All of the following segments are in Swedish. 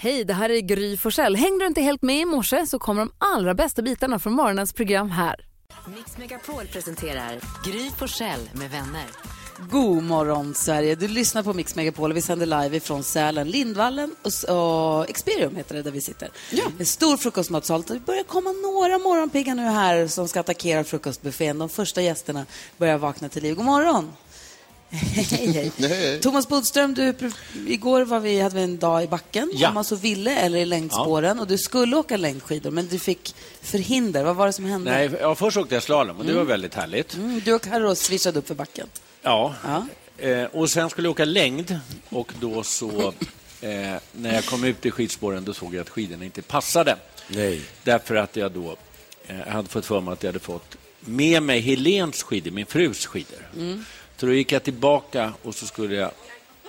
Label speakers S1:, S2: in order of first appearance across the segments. S1: Hej, det här är Gry Forssell. Hängde du inte helt med i morse så kommer de allra bästa bitarna från morgonens program här.
S2: Mix Megapol presenterar Gry Forssell med vänner.
S3: God morgon Sverige, du lyssnar på Mix Megapol och vi sänder live ifrån Sälen, Lindvallen och, s- och Experium heter det där vi sitter. En stor frukostmatsal. Det börjar komma några morgonpigga nu här som ska attackera frukostbuffén. De första gästerna börjar vakna till liv. God morgon! Hej, hej. Thomas Bodström, du, pr- igår var vi, hade vi en dag i backen
S4: Ja.
S3: om man så ville, eller i längdspåren. Och du skulle åka längdskidor men du fick förhinder. Vad var det som hände?
S4: Nej, ja, först åkte jag slalom och det var väldigt härligt.
S3: Mm, du och Carro swishade upp för backen.
S4: Ja.
S3: Ja.
S4: Eh, och sen skulle jag åka längd och då så, eh, när jag kom ut i skidspåren, då såg jag att skidorna inte passade.
S5: Nej.
S4: Därför att jag då eh, jag hade fått för mig att jag hade fått med mig Helens skidor, min frus skidor. Så då gick jag tillbaka och så skulle jag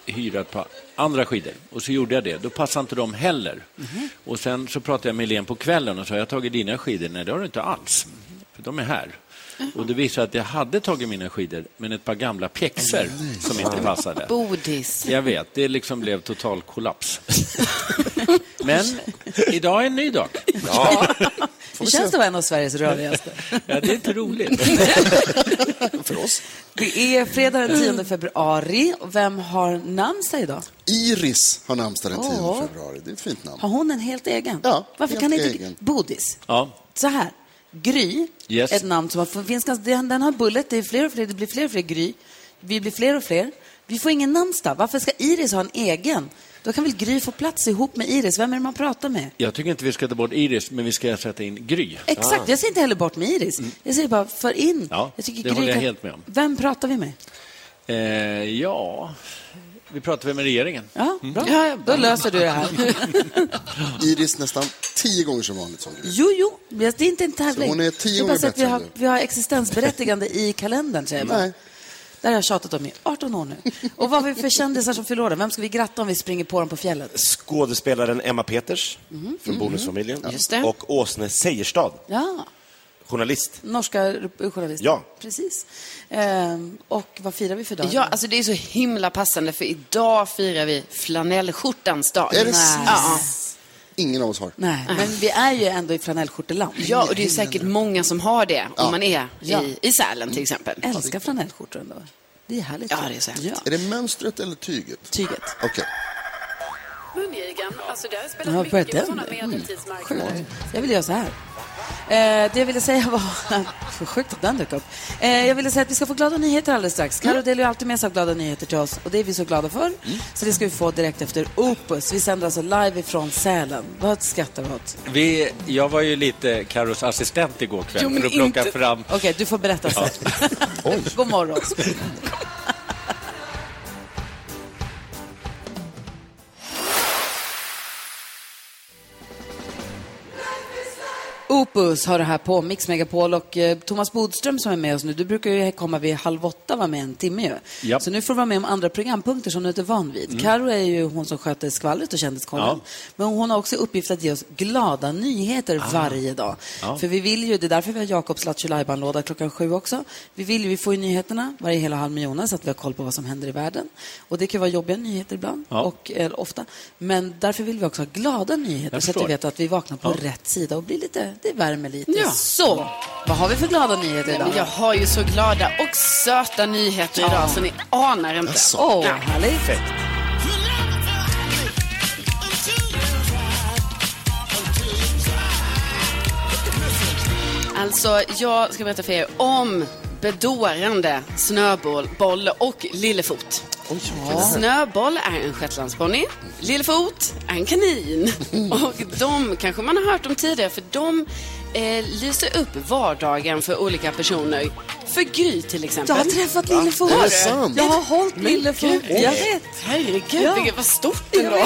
S4: hyra ett par andra skidor. Och så gjorde jag det. Då passade inte de heller.
S2: Mhm.
S4: Och sen så pratade jag med Helen på kvällen och sa, jag har tagit dina skidor. Nej, det har du inte alls. För de är här. Och det visade att jag hade tagit mina skidor, men ett par gamla pjäxor som inte passade.
S3: Bodis.
S4: Jag vet, det liksom blev total kollaps. Men idag är en ny dag.
S5: Ja,
S3: Det känns att vara en av Sveriges rörigaste.
S4: Ja, det är inte roligt.
S5: för oss.
S3: Det är fredag den 10 februari. Och Vem har namnsdag idag?
S5: Iris har namnsdag den 10
S3: Åh.
S5: februari. Det är ett fint namn.
S3: Har hon en helt egen?
S5: Ja,
S3: Varför
S5: helt
S3: kan inte
S5: egen.
S3: Bodis?
S4: Ja.
S3: Så här, Gry,
S4: Yes.
S3: ett namn som har, finns ganska, den, den har bullet, det, är fler och fler, det blir fler och fler Gry. Vi blir fler och fler. Vi får ingen namnsdag. Varför ska Iris ha en egen? Då kan väl Gry få plats ihop med Iris? Vem är det man pratar med?
S4: Jag tycker inte vi ska ta bort Iris, men vi ska sätta in Gry.
S3: Exakt, jag säger inte heller bort med Iris. Jag säger bara, för
S4: Ah.
S3: in.
S4: Mm. Ja,
S3: tycker
S4: det
S3: Gry
S4: håller jag
S3: kan-
S4: helt med om.
S3: Vem pratar vi med?
S4: Eh, ja, vi pratar väl med regeringen.
S3: Ja, bra. Ja, då löser du det här.
S5: Iris nästan tio gånger så vanligt som Gry.
S3: Jo, jo, men det är inte en tävling.
S5: Så hon är tio
S3: det är bara
S5: gånger
S3: så att vi
S5: bättre
S3: har,
S5: än du.
S3: vi har existensberättigande i kalendern, säger man.
S5: Nej.
S3: Det här har jag tjatat om i 18 år nu. Och vad har vi för kändisar som fyller år då? Vem ska vi gratta om vi springer på dem på fjället?
S6: skådespelaren Emma Peters från Bonusfamiljen
S3: Mhm. Just det.
S6: och Åsne Seierstad,
S3: Ja,
S6: journalist.
S3: norska r- journalister.
S6: Ja.
S3: Precis. Ehm, och vad firar vi för dag?
S7: Ja, alltså det är så himla passande för idag firar vi flanellskjortans dag.
S5: Är det
S3: Nej.
S7: ja,
S5: Ingen av oss har.
S3: Nej, men vi är ju ändå i flanellskjorteland.
S7: ja, och det är säkert många som har det om man är
S3: Ja.
S7: i, i Sälen till exempel.
S3: Älskar flanellskjortor ändå. Det är härligt.
S7: Ja, det är så härligt.
S3: Ja,
S5: Är det mönstret eller tyget?
S3: tyget.
S5: Okej.
S8: Mungigan, alltså det har jag spelat
S3: Ja, börjar
S8: mycket på
S3: den?
S8: sådana
S3: Mm.
S8: medeltidsmarknader.
S3: Jag ville göra så här. Eh, det jag ville säga var... Så sjukt att den dök upp. Eh, jag ville säga att vi ska få glada nyheter alldeles strax.
S8: Mm.
S3: Carro delar ju alltid med sig av glada nyheter till oss och det är vi så glada för. Så det ska vi få direkt efter Opus. Vi sänder alltså live ifrån Sälen. Vad skrattar du åt?
S4: Vi, jag var ju lite Carros assistent igår kväll
S7: Jo, men
S4: för att plocka
S7: inte-
S4: fram...
S3: Okej, du får berätta sen. God morgon. Opus har det här på Mix Megapol och eh, Thomas Bodström som är med oss nu, du brukar ju komma vid halv åtta vara med en timme ju.
S4: Ja. Mm.
S3: Så nu får du vara med om andra programpunkter som du inte är van vid. Karo är ju hon som sköter skvallret och kändiskollen.
S4: Ja.
S3: Men hon har också i uppgift att ge oss glada nyheter
S4: Ah.
S3: varje dag. För vi vill ju, det är därför vi har Jakobs Lattjo låda klockan sju också. Vi vill ju, vi får ju nyheterna varje hela halv med Jonas, så att vi har koll på vad som händer i världen. Och det kan ju vara jobbiga nyheter ibland,
S4: Ja.
S3: och, eller ofta. Men därför vill vi också ha glada nyheter,
S4: Jag
S3: så att vi
S4: förstår.
S3: vet att vi vaknar på
S4: Ja.
S3: rätt sida och blir lite, det värmer lite.
S7: Ja.
S3: Så, vad har vi för glada nyheter idag?
S7: Men jag har ju så glada och söta nyheter idag så ni anar inte.
S3: Åh, vad härligt.
S7: Alltså, jag ska berätta för er om bedårande snöboll och lillefot. Snöboll är en shetlandsponny, lillefot är en kanin. Och de kanske man har hört om tidigare för de eh, lyser upp vardagen för olika personer. För Gry till
S3: Jag
S7: exempel.
S3: har träffat Lillefot.
S5: Är det sant?
S3: Jag har hållit Lillefot.
S7: Gud.
S3: Jag vet.
S7: Herregud,
S3: Ja.
S7: vilket vad stort ändå.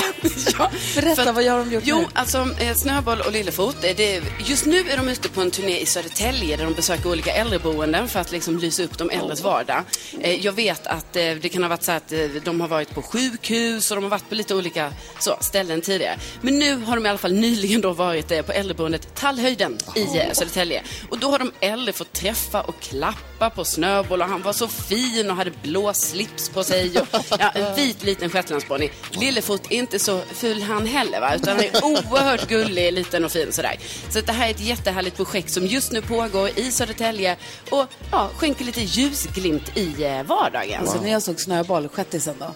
S7: ja.
S3: Berätta,
S7: För att-
S3: vad har de gjort
S7: Jo,
S3: nu?
S7: alltså eh, Snöboll och Lillefot, eh, det, just nu är de ute på en turné i Södertälje där de besöker olika äldreboenden för att liksom lysa upp de äldres vardag. Eh, jag vet att eh, det kan ha varit så att eh, de har varit på sjukhus och de har varit på lite olika så, ställen tidigare. Men nu har de i alla fall nyligen då varit eh, på äldreboendet Tallhöjden i eh, Södertälje. Och då har de äldre fått träffa och klappa pappa på snöboll och han var så fin och hade blå slips på sig. Och, ja, en vit liten shetlandsponny. Lillefot är inte så ful han heller, va? utan han är oerhört gullig, liten och fin. Sådär. Så att det här är ett jättehärligt projekt som just nu pågår i Södertälje och ja, skänker lite ljusglimt i eh, vardagen.
S3: Alltså
S7: Så
S3: när jag såg Snöboll, skettisen då.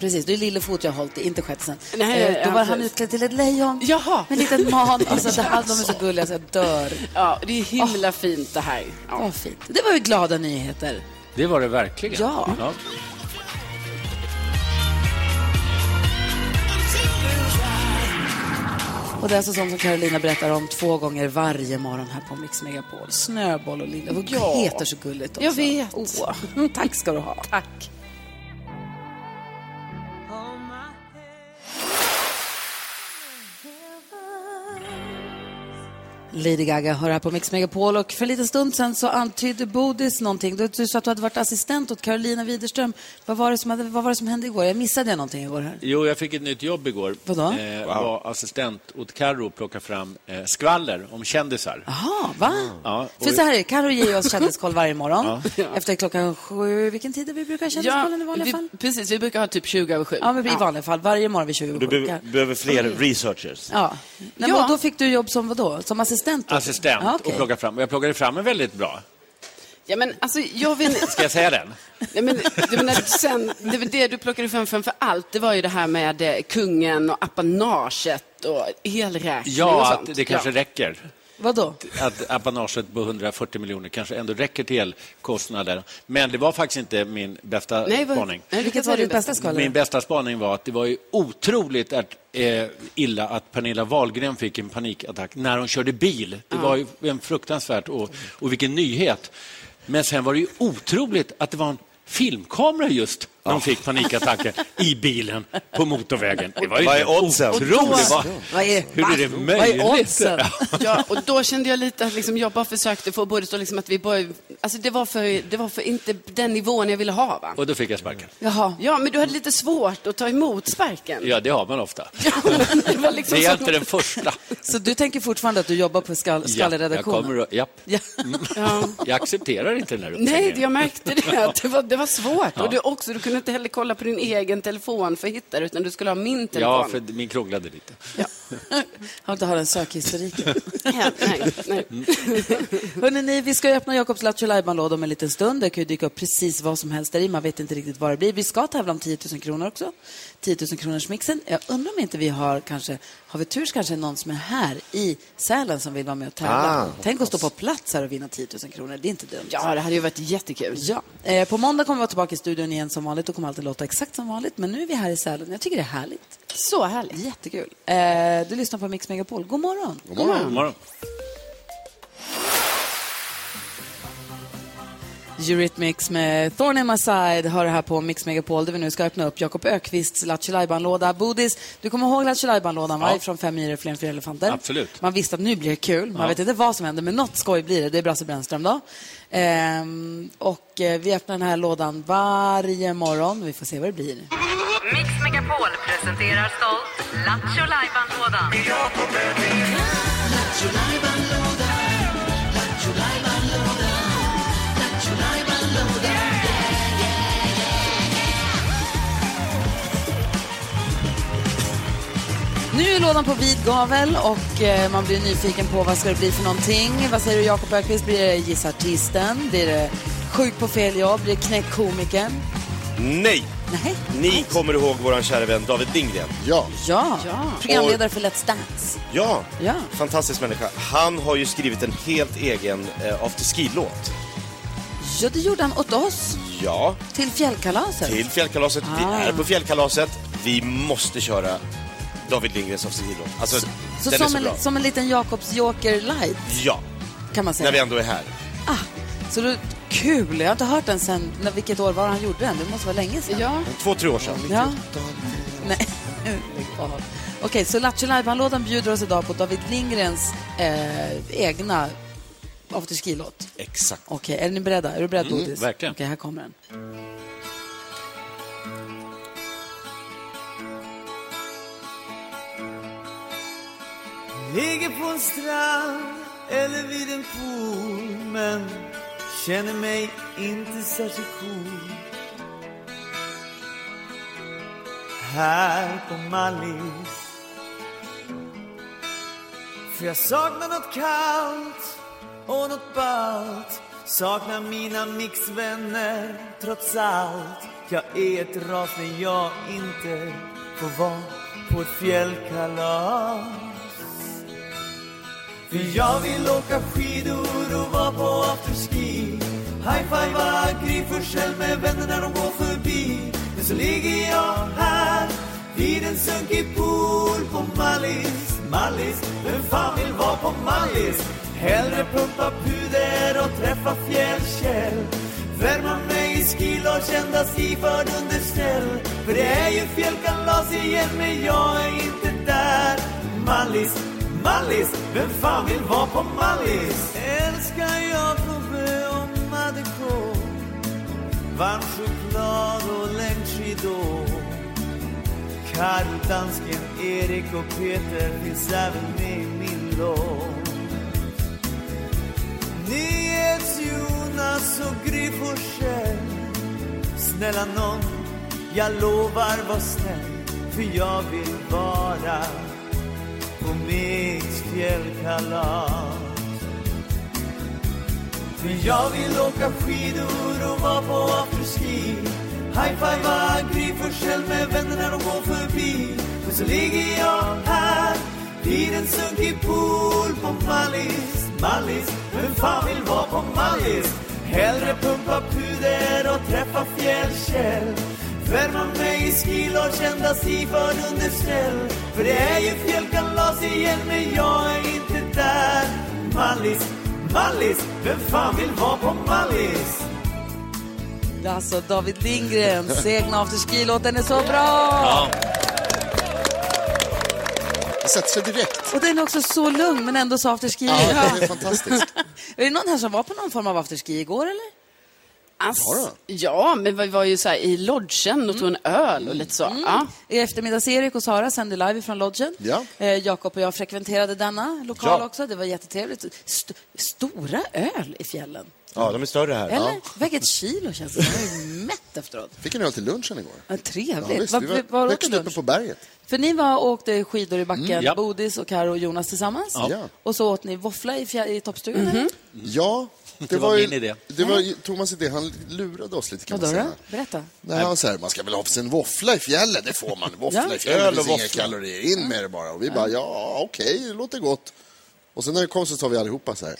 S3: Precis, det är Lillefot jag har hållit i, inte skettisen.
S7: Mm. Nej,
S3: eh, då
S7: ja,
S3: var han
S7: precis.
S3: utklädd till ett lejon
S7: Jaha.
S3: med en liten man. Alltså, det, här- de är så gulliga så jag dör.
S7: Ja, det är himla fint det här. Ja.
S3: Vad fint. Det var ju glada nyheter.
S4: Det var det verkligen.
S3: Ja. Och det är alltså sånt som Carolina berättar om två gånger varje morgon här på Mix Megapol. Snöboll och Lilla. Vad
S7: Ja.
S3: heter så gulligt också.
S7: Jag vet.
S3: Åh, tack ska du ha.
S7: Tack.
S3: Lady Gaga hör här på Mix Megapol och för en liten stund sen så antydde Bodis någonting. Du, du sa att du hade varit assistent åt Carolina Widerström. Vad var det som, hade, vad var det som hände igår? Jag missade jag någonting igår här.
S4: Jo, jag fick ett nytt jobb igår.
S3: Vadå?
S4: Eh, Var assistent åt Carro och plocka fram eh, skvaller om kändisar. Ah.
S3: Jaha, va?
S4: Ja, och-
S3: För så här är det, Carro ger oss kändiskoll varje morgon efter klockan sju. Vilken tid är vi brukar ha kändiskollen i vanliga
S7: vi,
S3: fall?
S7: precis. Vi brukar ha typ 20 över 7.
S3: Ja, men i vanliga fall. Varje morgon vid 20
S6: Du
S3: över sju.
S6: be- behöver fler researchers.
S3: Mm. Ja. Nej,
S7: Ja.
S3: Men då fick du jobb som vadå? Som assistent? då?
S4: Assistent
S3: Ja, Ah, okej.
S4: och plocka fram. Och jag plockade fram en väldigt bra.
S7: Ja, men alltså, jag vet
S4: Ska jag säga den?
S7: Nej, men, jag menar, sen, det, var det du plockade fram framför allt, det var ju det här med eh, kungen och apanaget och helräkning och
S4: Ja,
S7: sånt.
S4: att det kanske räcker.
S3: Vadå?
S4: Att apanaget på 140 miljoner kanske ändå räcker till elkostnader. Men det var faktiskt inte min bästa
S7: Nej, vad,
S4: spaning.
S7: nej,
S3: Vilket var ditt bästa skala?
S4: Min bästa spaning var att det var ju otroligt att, eh, illa att Pernilla Wahlgren fick en panikattack när hon körde bil. Det var ju en fruktansvärt och, och vilken nyhet. Men sen var det ju otroligt att det var en filmkamera just när hon fick panikattacken i bilen på motorvägen. Det var ju
S6: Vad är
S4: helt
S6: oddsen?
S4: Otroligt. Vad-
S3: Vad är,
S4: Hur är det
S3: va? Vad är
S4: möjligt?
S3: oddsen?
S7: Ja, och då kände jag lite att liksom, jag bara försökte få budget och liksom att vi bara, alltså det var, för, det var för inte den nivån jag ville ha va?
S4: Och då fick jag sparken.
S3: Jaha.
S7: Ja, men du hade lite svårt att ta emot sparken.
S4: Ja, det har man ofta.
S7: det var liksom
S4: Det är
S7: så-
S4: inte den första.
S3: Så du tänker fortfarande att du jobbar på skal-
S4: jag,
S3: skallerredaktionen?
S4: kommer och, japp.
S3: Ja.
S7: Ja.
S4: jag accepterar inte den här
S7: Nej,
S4: uppsägningen.
S7: jag märkte det. Att det, var, det var svårt. Och du, också, du kunde inte heller kolla på din egen telefon för att hitta det, utan du skulle ha min telefon.
S4: Ja, för min krånglade lite.
S3: Har inte har en sökhistorik.
S7: Ja, nej, nej.
S3: Hörrni, ni, vi ska ju öppna Jakobs Lattjo Lajban-låda om en liten stund. Det kan ju dyka upp precis vad som helst där i. Man vet inte riktigt vad det blir. Vi ska tävla om 10 000 kronor också. 10 000 kronors mixen. Jag undrar om inte vi har kanske, har vi tur så kanske någon som är här i Sälen som vill vara med och tävla. Tänk att stå på plats här och vinna 10 000 kronor. Det är inte dumt.
S7: ja, det hade ju varit jättekul.
S3: Ja, eh, på måndag kommer vi vara tillbaka i studion igen som vanligt och kommer alltid låta exakt som vanligt. Men nu är vi här i Sälen. Jag tycker det är härligt.
S7: Så härligt.
S3: Jättekul. Eh, du lyssnar på Mix Megapol. God morgon.
S4: God morgon. God morgon.
S3: Eurythmics med Thorn in my side hör här på Mix Megapol där vi nu ska öppna upp Jakob Ökvists Lattjo Lajban-låda. Bodis, du kommer ihåg Lattjo Lajban-lådan va?
S4: Ja.
S3: Från Fem myror, fler än fyra elefanter.
S4: Absolut.
S3: Man visste att nu blir det kul. Man vet inte vad som händer, men något skoj blir det. Det är Brasse Brännström då. Ehm, och eh, vi öppnar den här lådan varje morgon. Vi får se vad det blir.
S2: Mix Megapol presenterar stolt Lattjo Lajban-lådan.
S3: Nu är lådan på vid gavel och eh, man blir nyfiken på vad ska det bli för någonting. Vad säger du Jakob Ökvist? Blir det Gissa Artisten? Blir det Sjuk på fel jobb? Blir det Knäck komikern?
S6: Nej!
S3: Nej.
S6: Ni kommer ihåg vår kära vän David Lindgren.
S5: Ja,
S3: Ja.
S7: Ja.
S3: programledare för Let's Dance.
S6: Ja,
S3: Ja.
S6: fantastisk människa. Han har ju skrivit en helt egen eh, afterski-låt.
S3: Ja, det gjorde han åt oss
S6: Ja,
S3: till fjällkalaset.
S6: till fjällkalaset.
S3: Ah.
S6: Vi är på fjällkalaset. Vi måste köra David Lindgrens afterski-låt. Alltså,
S3: Så
S6: den är
S3: som,
S6: så bra.
S3: en, som en liten Jakobs Joker light
S6: Ja,
S3: kan man säga.
S6: när vi ändå är här.
S3: ah, så då, kul, jag har inte hört den sen, när, vilket år var han gjorde den? Det måste vara länge sedan.
S7: Ja,
S6: Två, tre år sedan.
S3: Ja. Nej. Lägg av. Okej, så Lattjo Lajban-lådan bjuder oss idag på David Lindgrens eh, egna afterski-låt.
S6: Exakt.
S3: Okej, är ni beredda? Är du beredd,
S7: Mm,
S3: Bodis?
S4: verkligen.
S3: Okej, här kommer den.
S9: Ligger på en strand eller vid en pool men Känner mig inte särskilt cool Här på Mallis För jag saknar något kallt och något ballt Saknar mina mixvänner trots allt Jag är ett ras när jag inte får vara på ett fjällkalas för jag vill åka skidor och vara på afterski High-fivea Gry Forssell med vänner när de går förbi Men så ligger jag här vid en sunkig pool på Mallis Mallis, vem fan vill vara på Mallis? Hellre pumpa puder och träffa fjällkäll Värma mig i skilodge, endast iförd underställ För det är ju fjällkalas igen men jag är inte där Mallis, Mallis, vem fan vill vara på Mallis? Älskar jag Kobe och Madeko Varm choklad och längdskidor Karldansken Erik och Peter finns även med i min låt Nyhets-Jonas och Gry Forssell Snälla nån, jag lovar var snäll För jag vill vara på mitt fjällkalas. För jag vill åka skidor och vara på afterski. High-fivea Gry Forssell med vänner när de går förbi. Men så ligger jag här vid en sunkig pool på Mallis. Mallis, vem fan vill vara på Mallis? Hellre pumpa puder och träffa fjällkäll. Värma mig i skilodge, endast iförd underställ För det är ju fjällkalas igen men jag är inte där Mallis, Mallis, vem fan vill vara på Mallis?
S3: Det är Alltså David Lindgrens egna afterski-låten är så bra!
S5: Jag sätter sig direkt.
S3: Och den är också så lugn men ändå så afterski.
S5: Ja, det är fantastiskt.
S3: Är det någon här som var på någon form av afterski igår eller?
S7: Ass, ja, men vi var ju så här i lodgen och tog en öl och lite så. Ja.
S3: Mm. I eftermiddags Erik och Sara sände live från lodgen.
S5: Ja.
S3: Eh, Jakob och jag frekventerade denna lokal
S6: Ja.
S3: också. Det var jättetrevligt. St- stora öl i fjällen.
S6: Ja, de är större här.
S3: Eller? Väger ett kilo känns det Jag är ju mätt efteråt.
S5: Fick en öl till lunchen igår.
S3: Ja,
S5: Ja,
S3: trevligt.
S5: visst,
S3: Vad
S5: vi
S3: vad-
S5: var
S3: vad
S5: högst
S3: åt du?
S5: uppe på berget.
S3: För ni var och åkte skidor i backen,
S4: ja.
S3: Bodis och Karo och Jonas tillsammans.
S5: Mm, Ja.
S3: Och så åt ni våffla i, fjär- i toppstugan.
S7: Mhm.
S3: eller?
S5: Ja, det,
S4: var
S5: ju,
S4: min idé.
S5: Det var ju Thomas idé. Han lurade oss lite kan
S3: Vadå
S5: man säga.
S3: då? Berätta.
S5: Nej, han säger, man ska väl ha sig en våffla i fjällen, det får man. Våffla
S3: Ja.
S5: i fjällen,
S6: Öl
S5: det
S6: och
S5: finns inga
S6: våffla.
S5: kalorier, in med det bara. Och vi bara, ja okej, det låter gott. Och sen när det kom så sa vi allihopa så här,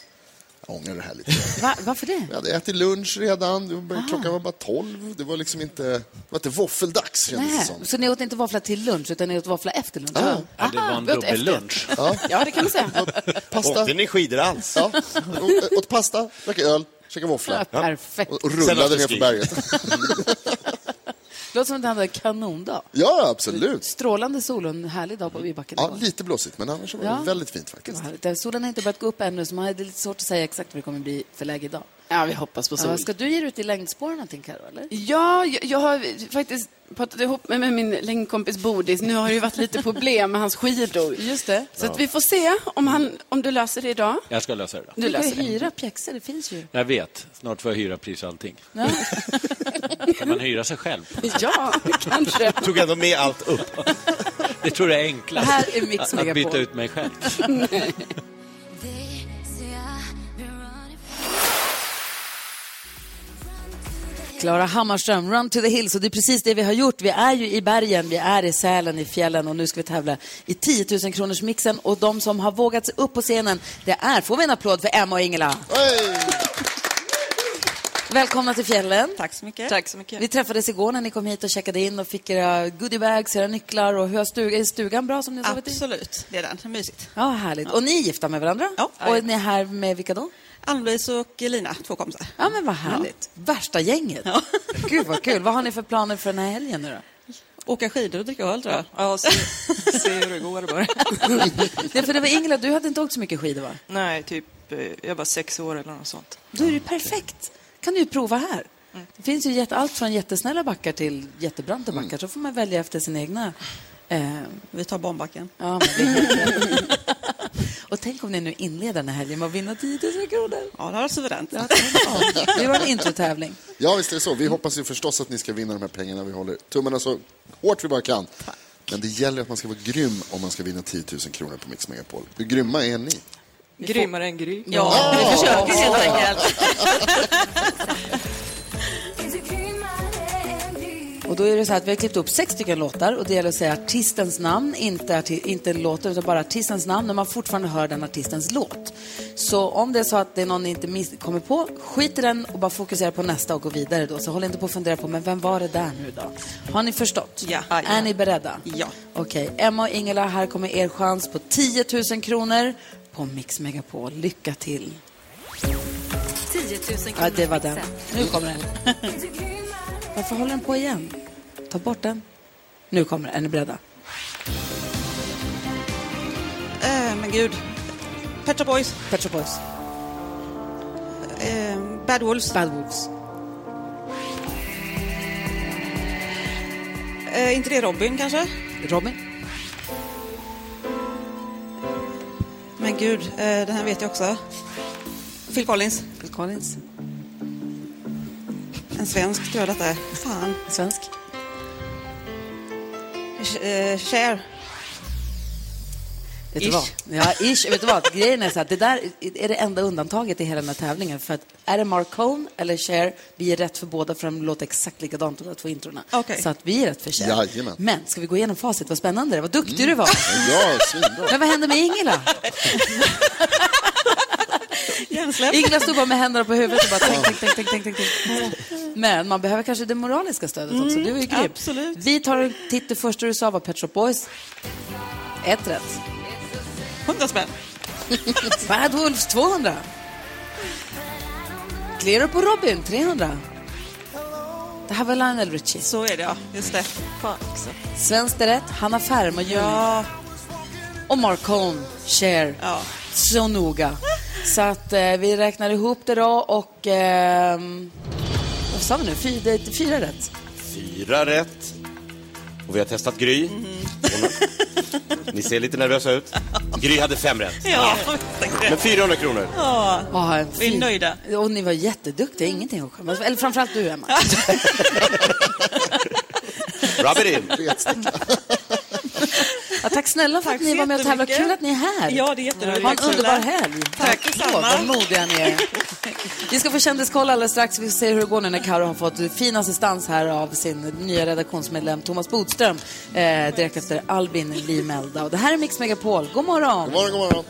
S5: jag ångrar det här lite.
S3: Va, varför det?
S5: Vi hade ätit lunch redan, det var, klockan var bara tolv, det var liksom inte, det var inte våffeldags kändes det
S3: Nej.
S5: som. Ah.
S3: Så ni åt inte våffla till lunch, utan ni åt våffla efter lunch? Ah.
S5: Ja.
S4: Ja, det var en
S7: vi åt efter.
S4: dubbellunch.
S7: ja, det kan man säga.
S5: Pasta,
S6: Åkte ni skidor alls?
S5: ja, Å- åt pasta, drack öl, käkade våffla.
S3: Ja, perfekt.
S5: Och och
S6: Sen
S5: rullade ner
S6: afterski.
S5: för berget.
S3: Det låter som att ni hade en kanondag.
S5: Ja, absolut.
S3: Strålande sol och en härlig dag på Vibacken.
S5: Ja, lite blåsigt, men annars var det
S3: Ja.
S5: väldigt fint faktiskt.
S3: Solen har inte börjat gå upp ännu, så man hade lite svårt att säga exakt vad det kommer bli för läge idag.
S7: Ja, vi hoppas på sol.
S3: Ja, ska du ge dig ut i längdspår någonting, Karo, eller?
S7: Ja, jag, jag har faktiskt pratat ihop mig med min längdkompis Bodis. Nu har det ju varit lite problem med hans skidor.
S3: Just det. Mm.
S7: Så att vi får se om, han, om du löser det idag.
S4: Jag ska lösa det då.
S7: Du
S3: Du kan ju
S7: löser det.
S3: hyra pjäxor, det finns ju.
S4: Jag vet, snart får jag hyra pris allting.
S3: Ja.
S4: Kan man hyra sig själv?
S7: Ja, kanske.
S6: Tog ändå med allt upp.
S4: Det tror jag är enklast.
S3: Det här är Mix
S4: att- Att
S3: Megapol.
S4: byta ut mig själv.
S3: Klara Hammarström, Run to the Hills. Och det är precis det vi har gjort. Vi är ju i bergen, vi är i Sälen, i fjällen och nu ska vi tävla i 10 000 kronors mixen. Och de som har vågat sig upp på scenen, det är, får vi en applåd för Emma och Ingela.
S5: Hej!
S3: Välkomna till fjällen.
S10: Tack så mycket. så mycket.
S3: Vi träffades igår när ni kom hit och checkade in och fick era goodiebags, era nycklar och hur har stug- är stugan bra som ni har sovit i?
S10: Absolut, det är den. Det är Mysigt.
S3: Ja, härligt. Och ni är gifta med varandra?
S10: Ja.
S3: Och ni är här med vilka då?
S10: Ann-Louise och Elina, två kompisar.
S3: Ja, men vad härligt. Värsta gänget.
S10: Ja.
S3: Gud, vad kul. Vad har ni för planer för den här helgen nu då?
S10: Åka skidor och dricka öl tror jag. Ja, se, se hur det går bara.
S3: Nej, för det var Ingela, du hade inte åkt så mycket skidor va?
S10: Nej, typ, eh, jag var sex år eller något sånt.
S3: Då är det perfekt. kan du ju prova här. Det finns ju jätte, allt från jättesnälla backar till jättebranta backar. Så får man välja efter sin egna... Eh,
S10: Vi tar barnbacken.
S3: ja, men det Och tänk om ni nu inleder den här helgen med att vinna 10 000 kronor.
S10: Ja, det har varit suveränt.
S3: Det var en introtävling.
S5: Ja, visst är det så. Vi hoppas ju förstås att ni ska vinna de här pengarna. Vi håller tummarna så hårt vi bara kan. Men det gäller att man ska vara grym om man ska vinna 10 000 kronor på Mix Megapol. Hur grymma är ni?
S10: Grymmare än Gry.
S5: Ja, vi försöker helt
S10: enkelt.
S3: Och då är det så här att vi har klippt upp sex stycken låtar och det gäller att säga artistens namn, inte, arti- inte låten utan bara artistens namn när man fortfarande hör den artistens låt. Så om det är så att det är någon ni inte miss- kommer på, skit i den och bara fokusera på nästa och gå vidare då. Så håll inte på att fundera på, men vem var det där nu då? Har ni förstått?
S10: Ja.
S3: Är ni beredda?
S10: Ja.
S3: Okej, Emma och Ingela, här kommer er chans på 10 000 kronor på Mix Megapol. Lycka till!
S11: 10 000
S3: Ja, det var den. Nu kommer den. Varför håller den på igen? Ta bort den. Nu kommer den. Är ni beredda?
S10: Eh, men gud. Pet Shop Boys.
S3: Pet Shop Boys.
S10: Eh, Bad Wolves.
S3: Bad Wolves.
S10: Eh, inte det Robin kanske?
S3: Robin.
S10: Men gud, eh, den här vet jag också. Phil Collins.
S3: Phil Collins.
S10: En svensk tror jag detta är. Fan.
S3: Svensk.
S10: Eh, Cher.
S3: Vet du
S10: Ish.
S3: vad? Ja, ish. Vet du vad? Grejen är så att det där är det enda undantaget i hela den här tävlingen. För att är det Marcone eller Cher, vi är rätt för båda för de låter exakt likadant de där två introna.
S10: Okej.
S3: Så att vi är rätt för Cher.
S5: Jajamän.
S3: Men ska vi gå igenom facit? Vad spännande det var. Vad duktig du var.
S5: Ja, svinbra.
S3: Men vad hände med Ingela?
S10: Hjärnsläpp.
S3: Ingela stod bara med händerna på huvudet och bara tänk, tänk, tänk, tänk, tänk, tänk, tänk. Men man behöver kanske det moraliska stödet också. Du är ju grym.
S10: Mm, absolut.
S3: Vi tar en titt. Det första du sa var Pet Shop Boys. Ett rätt.
S10: 100 spänn.
S3: Bad Wolves 200. Clear på Robin 300. Det här var Lionel Richie.
S10: Så är det ja, just det. Fan också.
S3: Svenskt är rätt. Hanna Färm och Juni.
S10: Ja,
S3: Och Marcon, Cher.
S10: ja.
S3: så noga. Så att eh, vi räknar ihop det då och... ehm, vad sa vi nu? Fy, det är fyra rätt.
S12: Fyra rätt. Och vi har testat Gry.
S3: Mm-hmm.
S12: Hon- Ni ser lite nervösa ut. Gry hade fem rätt.
S10: ja.
S12: Men 400 kronor.
S3: Ja, en
S10: Vi är
S3: fin-
S10: nöjda.
S3: Och ni var jätteduktiga, ingenting att skämmas för. Eller framförallt du, Emma.
S12: Rub it in.
S3: Ja, tack snälla för att
S10: Tack
S3: ni
S10: så
S3: var med och tävlade.
S10: jättemycket.
S3: Kul att ni är här.
S10: Ja, det är jätteroligt.
S3: Ha en
S10: Tack snälla.
S3: underbar helg.
S10: Tack
S3: Åh,
S10: detsamma.
S3: Vad modiga ni är. Vi ska få kändiskoll alldeles strax. Vi ser hur det går nu när Karo har fått fin assistans här av sin nya redaktionsmedlem Thomas Bodström eh, direkt efter Albin Limelda. Och det här är Mix Megapol. God morgon!
S5: God morgon, god morgon.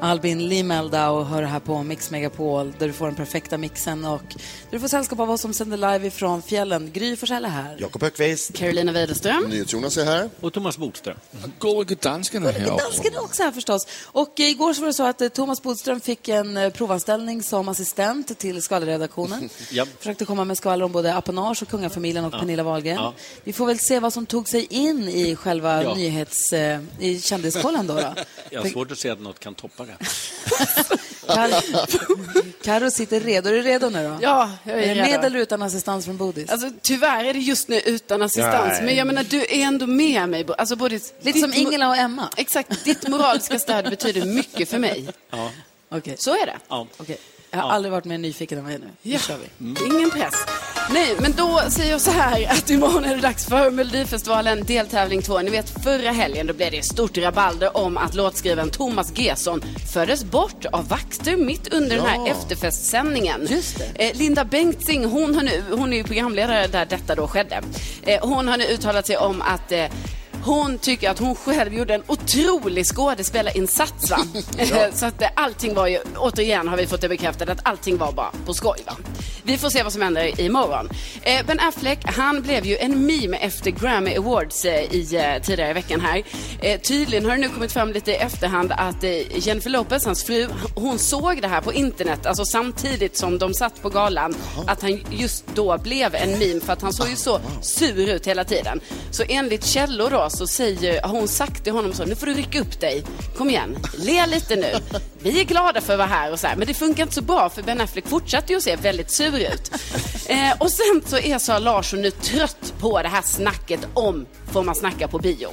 S3: Albin Limelda och hör här på Mix Megapol där du får den perfekta mixen och du får sällskap av oss som sänder live ifrån fjällen. Gry Forssell är här.
S12: Jakob Högqvist.
S13: Carolina Widerström.
S5: NyhetsJonas är här.
S4: Och Thomas Bodström.
S14: Gullige danskarna här
S3: Dansken är också här förstås. Och eh, igår så var det så att eh, Thomas Bodström fick en eh, provanställning som assistent till skvallerredaktionen.
S4: Ja.
S3: Försökte komma med skvaller om både apanage och kungafamiljen och Pernilla Wahlgren.
S4: Ja.
S3: Vi får väl se vad som tog sig in i själva
S4: Ja.
S3: nyhets... Eh, i kändiskollen då. då.
S4: Jag har svårt att se att något kan toppa det.
S3: Kar- Karo sitter redo. Är du redo nu då?
S7: Ja, jag
S3: Är
S7: är
S3: det med
S7: redo.
S3: eller utan assistans från Bodis?
S7: Eh, Alltså, tyvärr är det just nu utan assistans,
S12: Nej.
S7: men jag menar, du är ändå med mig. Bo- Alltså, både
S3: Lite som Ingela och Emma.
S7: Exakt, ditt moraliska stöd betyder mycket för mig.
S4: Ja,
S3: Okej.
S7: Så är det.
S4: ja.
S3: Okej. Jag har aldrig varit mer nyfiken än vad jag är nu.
S7: Ja. kör vi. Ingen press. Nej, men då säger jag så här att imorgon är det dags för Melodifestivalen deltävling 2. Ni vet förra helgen då blev det stort rabalder om att låtskrivaren Thomas Gesson fördes bort av vakter mitt under den här efterfestsändningen.
S3: Just
S7: Eh, Linda Bengtzing, hon, har nu, hon är ju programledare där detta då skedde. Eh, hon har nu uttalat sig om att eh, hon tycker att hon själv gjorde en otrolig skådespelarinsats. Va? Eh, Så att eh, allting var ju, återigen har vi fått det bekräftat, att allting var bara på skoj. Va? Vi får se vad som händer imorgon. Eh, Ben Affleck, han blev ju en meme efter Grammy Awards eh, i, eh, tidigare i veckan här. Eh, tydligen har det nu kommit fram lite i efterhand att eh, Jennifer Lopez, hans fru, hon såg det här på internet, alltså samtidigt som de satt på galan, att han just då blev en meme för att han såg ju så sur ut hela tiden. Så enligt källor då så säger, har hon sagt till honom så, nu får du rycka upp dig, kom igen, le lite nu, vi är glada för att vara här och så här. Men det funkar inte så bra för Ben Affleck fortsatte ju att se väldigt sur ut. eh, och sen så är Sara Larsson nu trött på det här snacket om får man snacka på bio.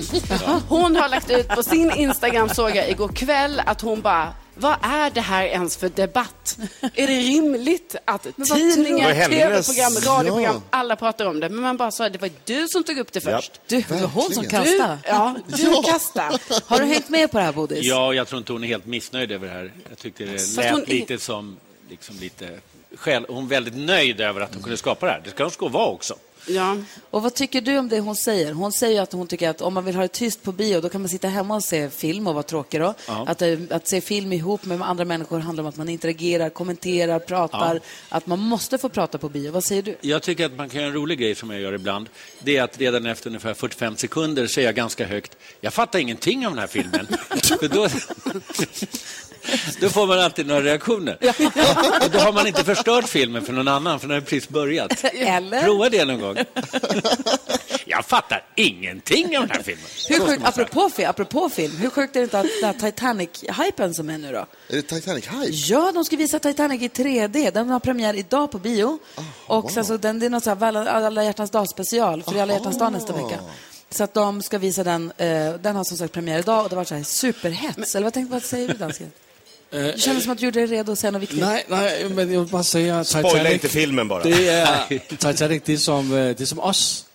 S7: Hon har lagt ut på sin Instagram, såg jag igår kväll, att hon bara vad är det här ens för debatt? Är det rimligt att
S6: vad tror du?
S7: tidningar,
S6: Vad hennes-
S7: tv-program, radioprogram,
S6: Ja.
S7: alla pratar om det? Men man bara sa, det var du som tog upp det först.
S3: Du, det var hon som
S7: Du,
S3: kastade.
S7: ja, du kastar.
S3: Har du hängt med på det här, Bodis?
S4: Ja, jag tror inte hon är helt missnöjd över det här. Jag tyckte det
S7: Fast
S4: lät
S7: hon är-
S4: lite som... Liksom lite, själv, hon är väldigt nöjd över att hon kunde skapa det här. Det ska hon ska vara också.
S7: Ja.
S3: Och vad tycker du om det hon säger? Hon säger ju att hon tycker att om man vill ha det tyst på bio, då kan man sitta hemma och se film och vara tråkig då.
S4: Ja.
S3: Att, eh, att se film ihop med andra människor handlar om att man interagerar, kommenterar, pratar.
S4: Ja.
S3: Att man måste få prata på bio. Vad säger du?
S4: Jag tycker att man kan göra en rolig grej som jag gör ibland. Det är att redan efter ungefär 45 sekunder säger jag ganska högt, jag fattar ingenting om den här filmen. För då, då får man alltid några reaktioner. Och då har man inte förstört filmen för någon annan, för den har precis börjat.
S3: Eller?
S4: Prova det någon gång. Jag fattar ingenting om den här filmen.
S3: Hur
S4: Så ska
S3: sjukt,
S4: man säga.
S3: apropå, fi- apropå film, hur sjukt är det inte att den här Titanic-hypen som är nu då?
S5: Är det Titanic-hype?
S3: Ja, de ska visa Titanic i 3D. Den har premiär idag på bio. och
S5: wow.
S3: sen så den, det är något så här alla, alla hjärtans dag special, för det är alla hjärtans dag nästa vecka. Så att de ska visa den. Eh, den har som sagt premiär idag och det var så här superhets. Eller vad, tänkte, vad säger du dansken?
S4: Eh,
S7: Eh,
S3: Det kändes som att du gjorde dig redo att säga något viktigt.
S15: Nej, nej, men jag vill bara säga att
S6: Spoila inte
S15: Titanic,
S6: filmen bara.
S15: det är, Titanic det är, som, eh, det är som oss.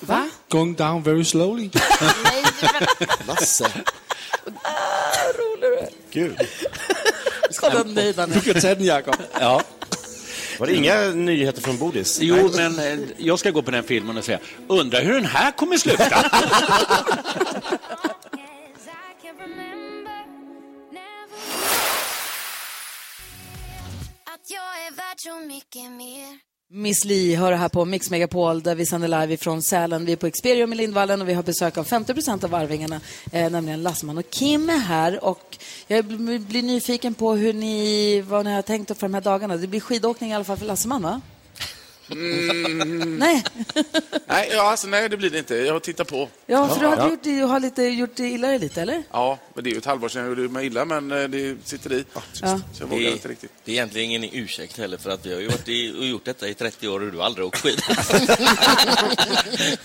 S7: Va?
S15: Going down very slowly.
S5: Lasse.
S6: Gud.
S3: Kolla nöjd han
S15: Du
S3: är.
S15: kan ta den, Jakob.
S4: Ja.
S6: Var det inga nyheter från Bodis?
S4: Jo, men eh, jag ska gå på den filmen och säga, undrar hur den här kommer sluta?
S3: Miss Li hör här på Mix Megapol där vi sänder live ifrån Sälen. Vi är på Experium i Lindvallen och vi har besök av 50 av Arvingarna, eh, nämligen Lasseman och Kim är här. Och jag bl- blir nyfiken på hur ni, vad ni har tänkt för de här dagarna. Det blir skidåkning i alla fall för Lasseman, va? Nej,
S16: Mm. Nej, ja, alltså, nej, det blir det inte. Jag tittar på.
S3: ja, för du har, gjort, du har lite, gjort det illa dig lite, eller?
S16: Ja, men det är ju ett halvår sedan jag gjorde mig illa, men eh, det sitter i. Så jag vågar inte riktigt.
S17: Det är egentligen ingen ursäkt heller, för att vi har ju varit i, och gjort detta i 30 år och du har aldrig åkt skidor.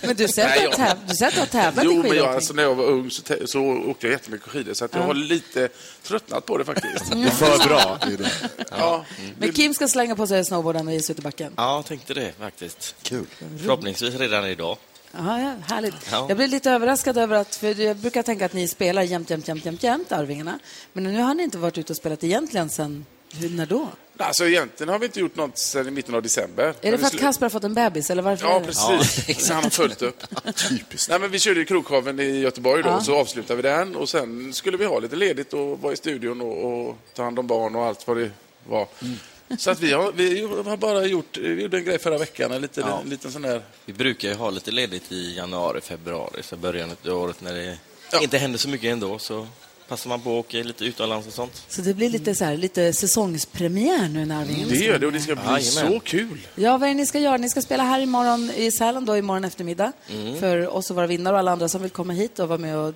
S3: Men du säger
S16: Nej,
S3: att du
S16: jag-
S3: har täv- du säger att du har tävlat i
S16: Jo, men
S3: skidåkning.
S16: jag, alltså, när jag var ung så, te- så åkte jag jättemycket skidor, så att jag har lite tröttnat på det faktiskt.
S6: Det är för bra.
S5: Det är det.
S16: Ja.
S3: Men Kim ska slänga på sig snowboarden och ge sig ut i backen.
S17: ja, jag tänkte det faktiskt.
S5: Kul.
S17: Förhoppningsvis redan idag.
S3: Aha, ja, härligt.
S17: Ja.
S3: Jag blev lite överraskad över att, för jag brukar tänka att ni spelar jämt, jämt, jämt, jämt, jämt, Arvingarna. Men nu har ni inte varit ute och spelat egentligen sen, hur, när då?
S16: Alltså, egentligen har vi inte gjort något sedan i mitten av december.
S3: Är
S16: Men
S3: det
S16: vi
S3: för att
S16: slu-
S3: Kasper har fått en bebis, eller varför
S16: Ja,
S3: är det?
S16: precis. Han har följt upp.
S5: Typiskt.
S16: Nej, men vi körde ju Krogshowen i Göteborg då, så avslutade vi den och sen skulle vi ha lite ledigt och vara i studion och, och ta hand om barn och allt vad det var.
S17: Mm.
S16: Så att vi har, vi har bara gjort, vi gjorde en grej förra veckan, en liten, en liten sån där...
S17: Vi brukar ju ha lite ledigt i januari, februari, så början av året när det
S16: Ja.
S17: inte händer så mycket ändå så passar man på att åka lite utomlands och sånt.
S3: Så det blir lite, så här, lite säsongspremiär nu när Arvingarna
S16: Det
S3: ska-
S16: gör det och det ska bli
S17: Jajamän.
S16: så kul.
S3: Ja, vad är det ni ska göra? Ni ska spela här imorgon i Sälen då, imorgon eftermiddag.
S17: Mm.
S3: För oss och våra vinnare och alla andra som vill komma hit och vara med och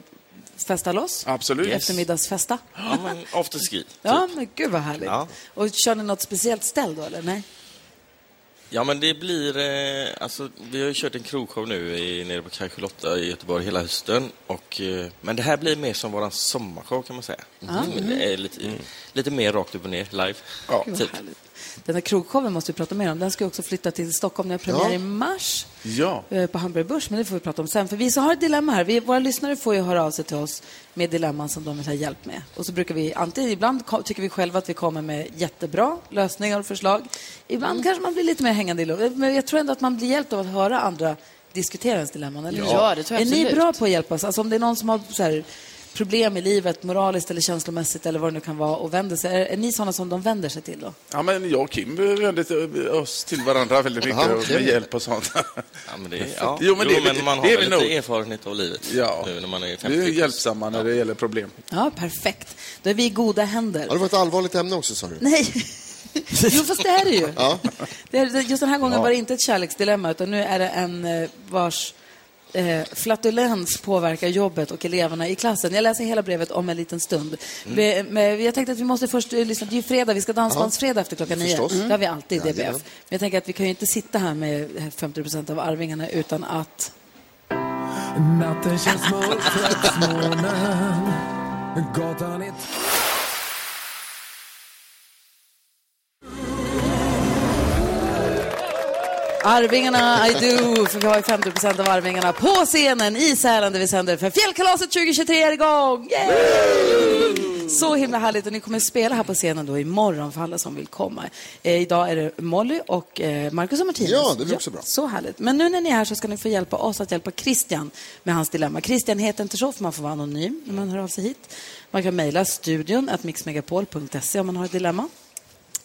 S3: festa loss.
S16: Absolut.
S3: Eftermiddagsfesta.
S17: Ja, men afterski.
S3: Ja, men gud vad härligt.
S17: Ja.
S3: Och kör ni något speciellt ställ då, eller? Nej?
S17: Ja, men det blir... Eh, alltså, vi har ju kört en krogshow nu i, nere på Kaj Charlotta i Göteborg hela hösten. Och, eh, men det här blir mer som våran sommarshow kan man säga. Men det är lite,
S16: Mm.
S17: lite mer rakt upp och ner, live.
S16: Ja.
S3: Mm. Gud, vad
S17: typ.
S3: härligt. Den här krogshowen måste vi prata mer om. Den ska ju också flytta till Stockholm. Den har premiär
S5: Ja.
S3: i mars
S16: Ja.
S3: eh, på Hamburg Börs, men det får vi prata om sen. För vi så har ett dilemma här. Vi, våra lyssnare får ju höra av sig till oss med dilemman som de vill ha hjälp med. Och så brukar vi, antingen ibland ko- tycker vi själva att vi kommer med jättebra lösningar och förslag. Ibland kanske man blir lite mer hängande i luften. Men jag tror ändå att man blir hjälpt av att höra andra diskutera ens dilemman, eller hur?
S7: Ja, det tror jag
S3: Är ni
S7: absolut.
S3: bra på att hjälpa oss? Alltså om det är någon som har så här, problem i livet, moraliskt eller känslomässigt eller vad det nu kan vara och vänder sig, är, är ni sådana som de vänder sig till då?
S16: Ja, men jag och Kim vände till- oss till varandra väldigt mycket
S5: Jaha,
S16: och
S5: okej.
S16: med hjälp och sånt.
S17: Ja, men det, ja.
S16: Jo, men det är lite-
S17: man har
S16: det är
S17: väl
S16: väl
S17: lite
S16: nog-
S17: erfarenhet av livet
S16: Ja.
S17: nu när man är 50
S16: Vi är
S17: plus.
S16: hjälpsamma när det gäller problem.
S3: Ja, perfekt. Då är vi i goda händer.
S5: Ja, det var ett allvarligt ämne också, sa du.
S3: Nej. Jo, fast det är det ju.
S5: Ja.
S3: Det är, just den här gången var det inte ett kärleksdilemma, utan nu är det en eh, vars eh, flatulens påverkar jobbet och eleverna i klassen. Jag läser hela brevet om en liten stund.
S10: Mm.
S3: Vi, men jag tänkte att vi måste först eh, lyssna. Det är ju fredag, vi ska dansbandsfredag efter klockan nio. Mm.
S10: Förstås.
S3: Det har vi alltid i DBF.
S10: Jajamän.
S3: Men jag tänker att vi kan ju inte sitta här med 50 procent av Arvingarna utan att...
S18: Natten känns mörk trots månen. Gatan är...
S3: Arvingarna, I do, för vi har ju 50 procent av Arvingarna på scenen i Sälen där vi sänder för Fjällkalaset 2023 är igång! Yay! Så himla härligt och ni kommer spela här på scenen då imorgon för alla som vill komma. Eh, idag är det Molly och eh, Marcus och Martinus.
S5: Ja, det blir också bra.
S3: Så härligt. Men nu när ni är här så ska ni få hjälpa oss att hjälpa Christian med hans dilemma. Christian heter inte så för man får vara anonym när man hör av sig hit. Man kan mejla studion at mixmegapol.se om man har ett dilemma.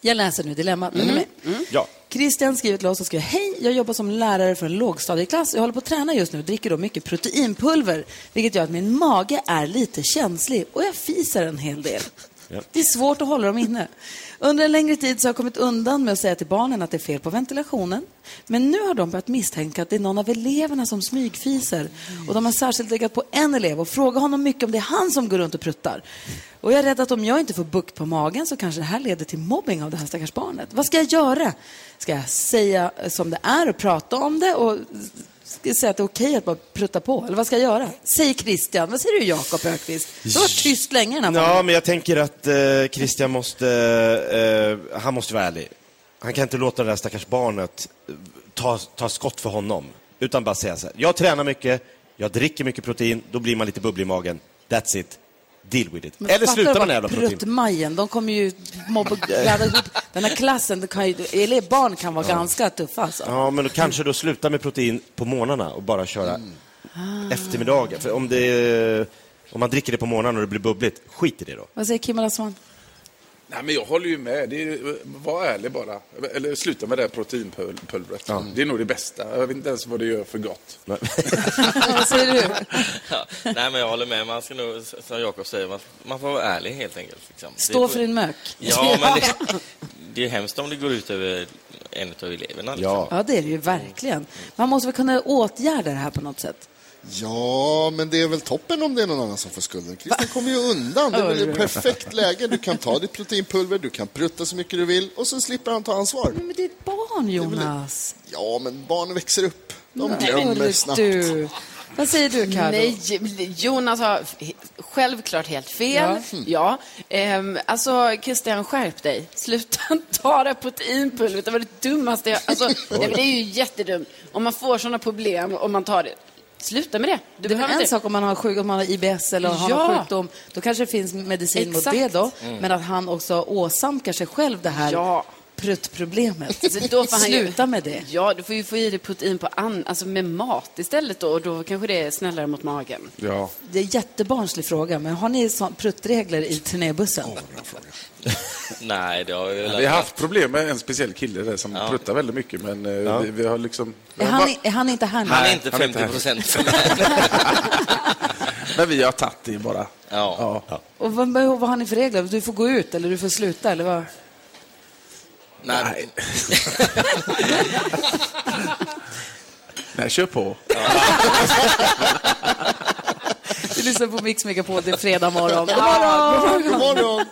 S3: Jag läser nu dilemmat. Är ni
S5: Mm.
S3: med?
S6: Ja.
S3: Christian skriver till oss och skriver Hej, jag jobbar som lärare för en lågstadieklass. Jag håller på att träna just nu och dricker då mycket proteinpulver, vilket gör att min mage är lite känslig och jag fiser en hel del. Det är svårt att hålla dem inne. Under en längre tid så har jag kommit undan med att säga till barnen att det är fel på ventilationen. Men nu har de börjat misstänka att det är någon av eleverna som smygfiser. Och de har särskilt legat på en elev och frågat honom mycket om det är han som går runt och pruttar. Och jag är rädd att om jag inte får bukt på magen så kanske det här leder till mobbing av det här stackars barnet. Vad ska jag göra? Ska jag säga som det är och prata om det och ska jag säga att det är okej att bara prutta på? Eller vad ska jag göra? Säg Christian. Vad säger du Jakob Ökvist? Du har varit tyst länge den här
S12: Ja, men jag tänker att eh, Christian måste, eh, han måste vara ärlig. Han kan inte låta det där stackars barnet eh, ta, ta skott för honom. Utan bara säga så här, jag tränar mycket, jag dricker mycket protein, då blir man lite bubblig i magen. That's it. Deal with it.
S3: Men
S12: Eller
S3: fattar du
S12: slutar man
S3: vad
S12: äta protein.
S3: Pruttmajen, de kommer ju mobba blanda ihop. Den här klassen, det kan ju, eller barn kan vara
S12: Ja.
S3: ganska tuffa alltså.
S12: Ja, men då kanske då sluta med protein på morgnarna och bara köra eftermiddagen. För om, det, är- om man dricker det på morgnarna och det blir bubbligt, skit i det då.
S3: Vad säger Kim Alasman?
S16: Nej, men jag håller ju med. Det är, var ärlig bara. Eller sluta med det här proteinpulvret. Det är nog det bästa. Jag vet inte ens vad det gör för gott.
S3: Vad säger du?
S17: Ja, nej, men jag håller med. Man ska nog, som Jakob säger, man, man får vara ärlig helt enkelt. Liksom.
S3: Stå
S17: Det-
S3: för din mök.
S17: Ja, men det, det är hemskt om det går ut över en av eleverna. Liksom.
S3: Ja, det är det ju verkligen. Man måste väl kunna åtgärda det här på något sätt.
S5: Ja, men det är väl toppen om det är någon annan som får skulden. Christian kommer ju undan. Det är väl ett perfekt läge. Du kan ta ditt proteinpulver, du kan prutta så mycket du vill och sen slipper han ta ansvar.
S3: Men det är ett barn, Jonas.
S5: Ja, men barn växer upp. De
S3: Nej,
S5: glömmer
S3: hörru
S5: snabbt.
S3: du. Vad säger du, Karo?
S7: Nej, Jonas har he- självklart helt fel.
S6: Mm.
S7: Ja. Ehm, alltså, Christian, skärp dig. Sluta ta det här proteinpulvret. Det var det dummaste jag... Alltså, nej, men det är ju jättedumt. Om man får sådana problem om man tar det. Sluta med det. Du
S3: Det är
S7: behöver
S3: en
S7: inte-
S3: sak om man har, sjuk, om man har IBS eller har
S7: Ja.
S3: någon sjukdom. Då kanske det finns medicin mot
S7: Exakt.
S3: det då.
S7: Mm.
S3: Men att han också åsamkar sig själv det här
S7: Ja.
S3: pruttproblemet.
S7: Så då får han ju-
S3: Sluta med det.
S7: Ja, du får ju få i dig protein på an... alltså med mat istället då. Och då kanske det är snällare mot magen.
S16: Ja.
S3: Det är en jättebarnslig fråga, men har ni så- pruttregler i turnébussen?
S17: Nej, det har vi väl
S16: Vi har haft problem med en speciell kille där som pruttar väldigt mycket, men eh, vi, vi har liksom...
S3: är, han, i- är han inte här nu?
S16: Nej, han är inte här. men vi har tagit det bara. Ja.
S3: Och vad, vad har ni för regler? Du får gå ut eller du får sluta eller vad?
S16: Nej. Nej, kör på.
S3: Du lyssnar på Mix Megapol, det är fredag morgon. God
S5: Ja,
S3: morgon!
S5: god morgon.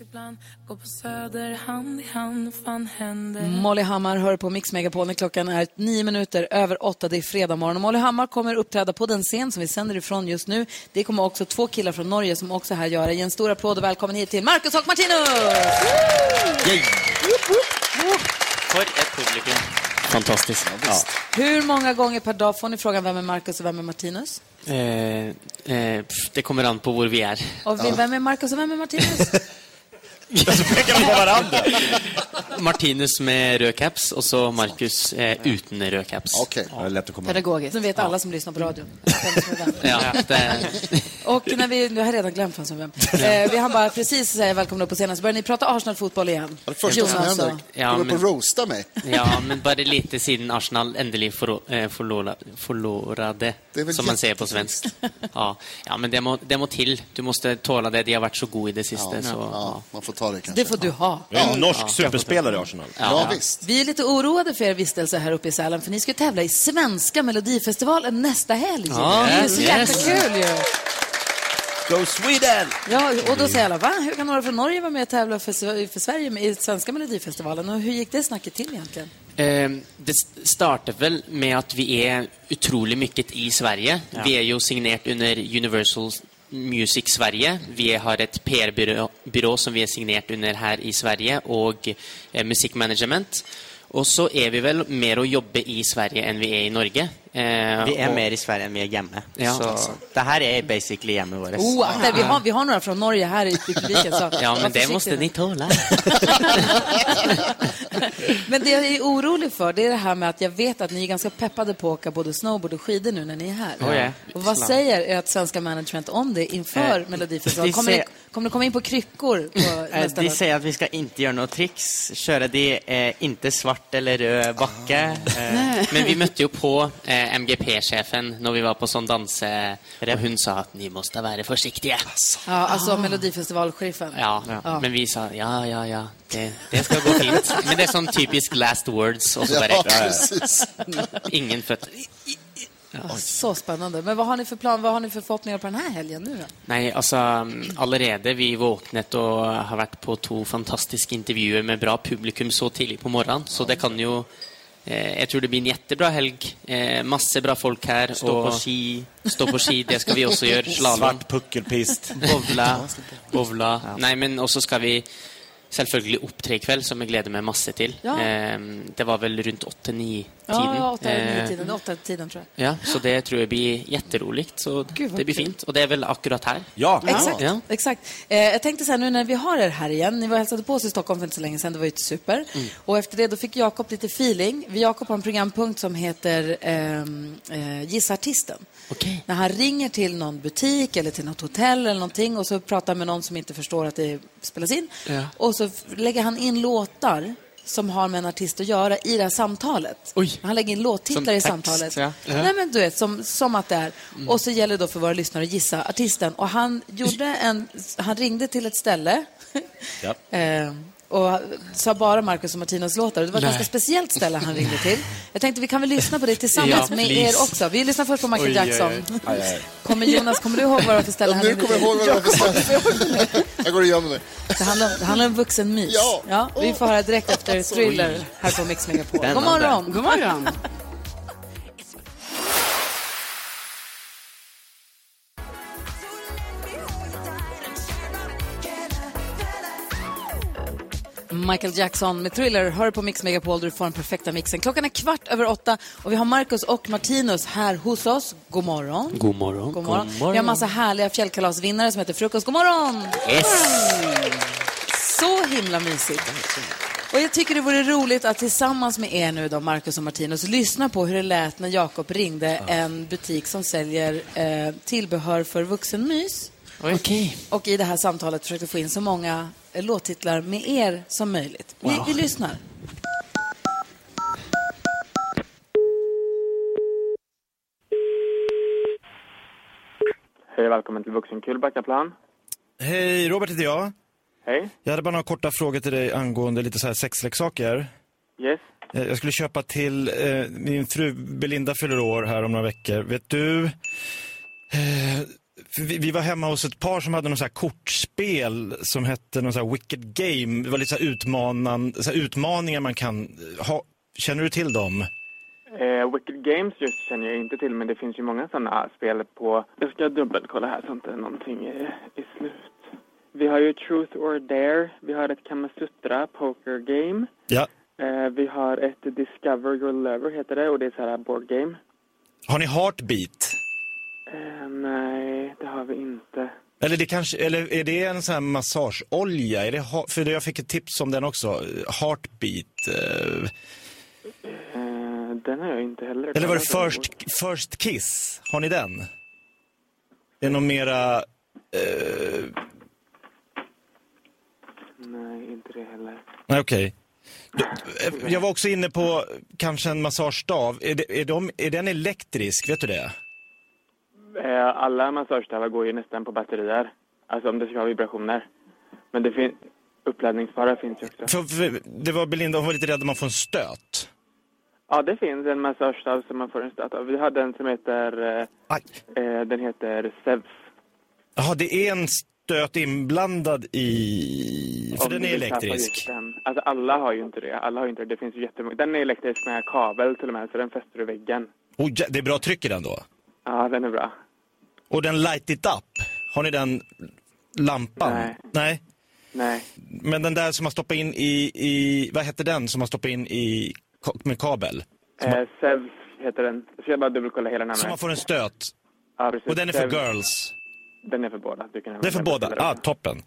S19: Ibland går på söder hand i hand, fan händer
S3: Molly Hammar hör på Mix Megapol när klockan är nio minuter över åtta. Det är fredag morgon. Och Molly Hammar kommer uppträda på den scen som vi sänder ifrån just nu. Det kommer också två killar från Norge som också är här göra. Ge en stor applåd och välkommen hit till Marcus och Martinus!
S20: För ett publikum. Fantastiskt.
S3: Hur många gånger per dag får ni frågan vem är Marcus och vem är Martinus?
S20: Ja. Eh, eh, pff, det kommer an på var vi är.
S3: Och vi- vem är Marcus och vem är Martinus?
S20: Martinus med röd caps och så Marcus eh, utan röd caps. Okej,
S12: det är lätt att komma
S3: Pedagogiskt. Nu vet alla som lyssnar på radion.
S20: Ja, det,
S3: Och när vi, nu har jag redan glömt vem som vem. Eh, vi hann bara precis säga välkomna upp på scenen, så började ni prata Arsenal-fotboll igen.
S5: Det första som
S3: Jonas
S5: händer,
S3: och-
S20: Ja,
S5: håller på att
S20: men-
S5: roasta mig.
S20: Ja, men bara lite siden Arsenal endelig forlo- eh, forlola- forlorade,
S5: väl
S20: som man säger på svensk. Ja, ja men det må, det må till. Du måste tåla det. De har varit så goda i det sista.
S5: Ja,
S20: så,
S5: ja, Man får ta det kanske.
S3: Det får du ha.
S12: Vi har en norsk superspelare i Arsenal.
S5: Ja, visst.
S3: Vi är lite oroade för er vistelse här uppe i Sälen, för ni ska tävla i svenska melodifestivalen nästa helg.
S12: Ja,
S3: det är ju så
S12: yes.
S3: jättekul ju.
S12: Go Sweden!
S3: Ja, och då säger alla, va? Hur kan några från Norge vara med och tävla för, Sve- för Sverige med- i svenska melodifestivalen? Och hur gick det snacket till egentligen?
S20: Eh, Det startet väl med att vi är otroligt mycket i Sverige.
S3: Ja.
S20: Vi är ju signerat under Universal Music Sverige. Vi har ett PR-byrå byrå som vi är signerat under här i Sverige och eh, musikmanagement. Och så är vi väl mer och jobba i Sverige än vi är i Norge. Vi
S21: Vi är mer i Sverige än vi är hemma.
S20: Ja.
S21: Så det här är basically hemma vårt.
S3: Oh, akta, vi, har, vi har några från Norge här i i publiken. Så
S20: Ja,
S3: var
S20: men det
S3: försiktig
S20: måste
S3: nu.
S20: ni tåla.
S3: Men det jag är orolig för, det är det här med att jag vet att ni är ganska peppade på att åka både snowboard och skidor nu när ni är här.
S21: Oh, ja.
S3: Och vad
S21: Snabbt.
S3: säger ert svenska management om det inför
S21: Eh,
S3: Melodifestivalen?
S21: vi
S3: Kommer, ni,
S21: ser-
S3: kommer ni komma in på kryckor på
S21: Eh,
S3: nästa
S21: De
S3: låt?
S21: säger att vi ska inte göra några tricks, köra de eh, inte svart eller röd backe.
S3: Ah.
S20: Eh, Men vi mötte ju på eh, MGP-chefen när vi var på sån danse och hon sa att ni måste vara försiktiga.
S3: Ja,
S21: Ah.
S3: alltså Melodifestivalsheriffen.
S20: Ja, men vi sa ja, ja, ja, det, det ska gå fint. Men det är sån typisk last words och så bara
S3: Ja,
S5: precis.
S20: Ingen fötter.
S3: Ja, Ah, så spännande. Men vad har ni för plan, vad har ni för förhoppningar på den här helgen nu då?
S20: Nei, altså allerede vi våknet og har vært på to fantastiske intervjuer med bra publikum så tidlig på morgenen, så det kan jo eh, Jeg tror det blir en jettebra helg. Eh, masse bra folk her.
S21: Stå på ski.
S20: Stå på ski, det skal vi også gjøre. Slalåm.
S12: Svart puckelpist.
S20: Bowla. Bowla. Nei, men også skal vi selvfølgelig opptre i kveld, som jeg gleder meg masse til.
S3: Ja.
S20: Eh, det var vel rundt Eh, åtte-ni-tiden.
S3: Ja, åtta
S21: Eh.
S3: eller tiden. Åtta tiden tror jag.
S20: Ja, så det tror jag blir jätteroligt. Så
S3: Gud, vad
S20: det blir
S3: kul.
S20: fint. Och det är väl akkurat här?
S12: Ja,
S3: Exakt. exakt. Eh, jag tänkte så här, nu när vi har er här igen, ni var och hälsade på oss i Stockholm för inte så länge sedan, det var ju super.
S20: Mm.
S3: Och efter det då fick Jakob lite feeling. Vi Jakob har en programpunkt som heter ehm, eh, Gissa artisten. När han ringer till någon butik eller till något hotell eller någonting och så pratar med någon som inte förstår att det spelas in.
S20: Ja.
S3: Och så f- lägger han in låtar som har med en artist att göra i det här samtalet. Han lägger in
S21: Som
S3: låttitlar i
S21: text,
S3: samtalet.
S21: ja. Mm.
S3: Nej, men du vet, som, som att det är. Och så gäller det då för våra lyssnare att gissa artisten. Och han, gjorde en, han ringde till ett ställe
S12: Ja.
S3: eh, och sa bara Marcus och Martinos låtar. Och Det var ett
S20: Nej.
S3: ganska speciellt ställe han ringde till. Jag tänkte vi kan väl lyssna på det tillsammans
S20: Ja,
S3: med
S20: please.
S3: er också. Vi lyssnar först på Michael
S20: Oj, oj, oj.
S3: Jackson.
S5: Aj, aj.
S3: Kommer Jonas, kommer du ihåg vad det var för ställe han
S5: Nu
S3: ringde
S5: kommer jag ihåg vad det var för Jag går och gömmer mig.
S3: Det handlar, om- det handlar om vuxenmys.
S5: Ja.
S3: vi får höra direkt efter
S5: Alltså.
S3: Thriller
S5: Oj.
S3: här på Mix Megapol. God
S21: Spännande.
S3: morgon!
S21: God morgon.
S3: Michael Jackson med Thriller hör på Mix Megapol där du får den perfekta mixen. Klockan är kvart över åtta och vi har Marcus och Martinus här hos oss. God morgon.
S20: God morgon.
S3: God morgon. alltså, Vi har massa härliga fjällkalasvinnare som heter Frukost. God morgon!
S20: Yes.
S3: Så himla mysigt. Och jag tycker det vore roligt att tillsammans med er nu då, Marcus och Martinus, lyssna på hur det lät när Jakob ringde en butik som säljer eh, tillbehör för vuxenmys.
S20: Okej.
S3: Och i det här samtalet försökte få in så många eh, låttitlar med er som möjligt. Vi,
S20: Wow.
S3: vi lyssnar.
S22: Hej och välkommen till Vuxenkul Backaplan.
S23: Hej, Robert heter jag.
S22: Hej.
S23: Jag hade bara några korta frågor till dig angående lite så här sexleksaker.
S22: Yes.
S23: Eh, Jag skulle köpa till eh, min fru Belinda fyller år här om några veckor. Vet du, eh, vi, vi var hemma hos ett par som hade något så här kortspel som hette någon så här Wicked Game. Det var lite så här, utmanan, så här utmaningar man kan eh, ha. Känner du till dem?
S22: Eh, Wicked Games just känner jag inte till, men det finns ju många sådana spel på... Jag ska dubbelkolla här så inte någonting är, är slut. Vi har ju Truth or Dare, vi har ett Kamasutra Poker Game.
S23: Ja.
S22: Eh, vi har ett Discover Your Lover heter det och det är så här board game.
S23: Har ni Heartbeat?
S22: Eh, nej, det har vi inte.
S23: Eller, det kanske, eller är det en sån här massageolja? Är det, ha- för jag fick ett tips om den också. Heartbeat. eh,
S22: Eh, den har jag inte heller.
S23: Eller var det First, first Kiss? Har ni den? Det är någon mera... Eh,
S22: Nej, inte det heller.
S23: nej, okej. Du, eh, Jag var också inne på kanske en massagestav. Är, det, är, de, är den elektrisk? Vet du det?
S22: Eh, Alla massagestavar går ju nästan på batterier. Alltså om det ska ha vibrationer. Men det finns... Uppladdningsbara finns ju
S23: För,
S22: också.
S23: för, det var Belinda, hon var lite rädd att man får en stöt.
S22: Ja, det finns en massagestav som man får en stöt av. Vi har den som heter... eh, Eh, den heter Sevs.
S23: Jaha, det är en stöt inblandad i... För
S22: Om
S23: den
S22: du
S23: är
S22: vill tappa
S23: elektrisk.
S22: just den. Alltså alla har ju inte det. Alla har ju inte det. Det finns ju jättemånga. Den är elektrisk med kabel till och med, så den fäster du i väggen.
S23: Oh, ja, det är bra tryck i den då.
S22: Ja, den är bra.
S23: Och den light it up, har ni den lampan?
S22: Nej.
S23: Nej.
S22: Nej.
S23: Men den där som man stoppar in i, i vad hette den som man stoppar in i ka- med kabel? Som man,
S22: Eh, Sevs heter den. Jag ska bara dubbelkolla hela namnet.
S23: som man får en stöt.
S22: Ja, precis.
S23: Och den är för
S22: Sevs.
S23: girls.
S22: Den är för båda. Du kan
S23: Det är
S22: använda
S23: för båda.
S22: båda.
S23: Ah, toppen. Ja,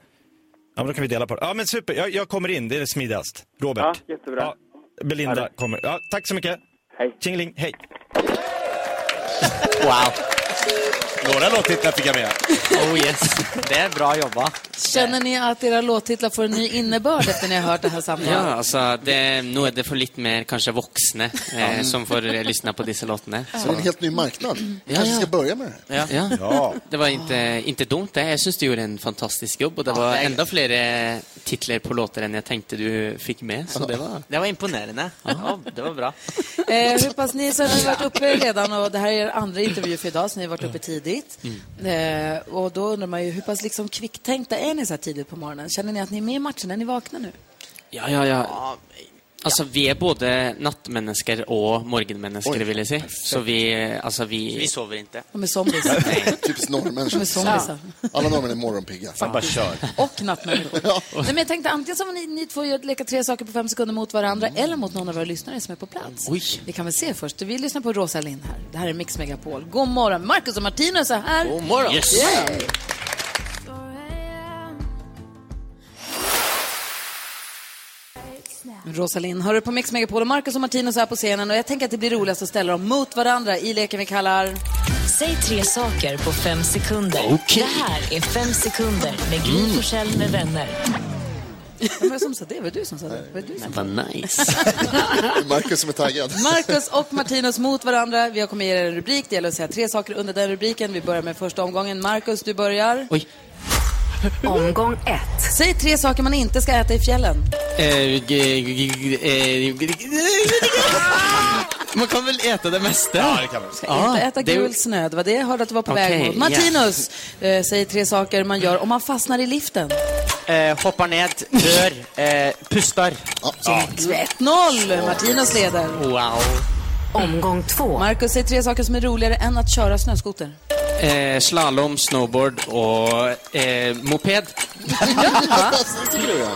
S23: men då kan vi dela på det. Ja, men super. Jag, jag kommer in, det är det smidigast. Robert.
S22: Ja, jättebra.
S23: Belinda kommer. Ja, tack så mycket.
S22: Hej.
S23: Tjingeling, hej.
S12: Wow. Några låttitlar fick jag med.
S21: Oh yes, det är bra jobbat.
S3: Känner ni att era låttitlar får en ny innebörd efter ni har hört det här samtalet?
S20: Ja, altså, det, nå er det for litt mer kanskje voksne eh, som får eh, lyssna på disse låtene.
S5: Så det är en helt ny marknad. Vi kanske ska börja med det här.
S20: Ja.
S12: Ja.
S20: Det var inte, inte dumt det. Jag syns du gjorde en fantastisk jobb och det var ända fler titlar på låtar än jag tänkte du fick med. Så det var...
S21: Det var imponerande. Ja, det var bra.
S3: Eh, hur pass ni så har ni varit uppe redan och det här är er andra intervju för idag så ni har varit
S20: Mm.
S3: uppe tidigt. Eh, och då undrar man ju hur pass liksom kvicktänkta är ni så här tidigt på morgonen? Känner ni att ni är med i matchen? Är ni vakna nu?
S20: Ja, ja, ja. Altså, vi er både nattmennesker og morgenmennesker,
S3: Oi,
S20: vil jeg si. Så vi, altså, vi...
S21: Vi sover inte.
S3: De är zombies.
S5: Typiskt norrmän.
S3: De är zombies. Ja.
S5: Alla norrmän är morgonpigga.
S3: Fan, bara kör. Och nattmänniskor. Nej, men jag tänkte antingen så får ni, ni två gör- leka tre saker på fem sekunder mot varandra eller mot någon av våra lyssnare som är på plats.
S20: Mm. Oj.
S3: Vi kan väl se först. Vi lyssnar på Rosa Lind här. Det här är Mix Megapol. God morgon. Marcus och Martinus är här. God
S20: morgon. Yes.
S3: Rosalind, hör du på Mix Megapol och Marcus och Martinus här på scenen och jag tänker att det blir roligast att ställa dem mot varandra i leken vi kallar...
S2: Säg tre saker på fem sekunder.
S3: Okej.
S2: Det här är fem sekunder med Gry
S3: Mm.
S2: Forssell med vänner.
S3: Vem var det som sa det? Var det du som sa det? Var det du som sa
S20: Vad nice.
S5: Marcus som är taggad.
S3: det? Marcus och Martinus mot varandra. Vi har kommit ge er en rubrik. Det gäller att säga tre saker under den rubriken. Vi börjar med första omgången. Marcus, du börjar.
S20: Oj.
S3: Omgång ett. Säg tre saker man inte ska äta i fjällen.
S20: Eh, g- g- g- eh, g- Man kan väl äta det mesta? Ja, det kan man.
S3: Ska inte äta gul snö. Det var det jag hörde att du var på väg
S20: Okej,
S3: mot.
S20: ja.
S3: Martinus, eh, säg tre saker man gör om man fastnar i liften.
S21: Eh, hoppar ned, dör, eh, pustar.
S3: Ja. 1-0. Martinus leder.
S21: Wow.
S3: Omgång två. Marcus, säg tre saker som är roligare än att köra snöskoter.
S20: Eh, slalom, snowboard och eh, moped.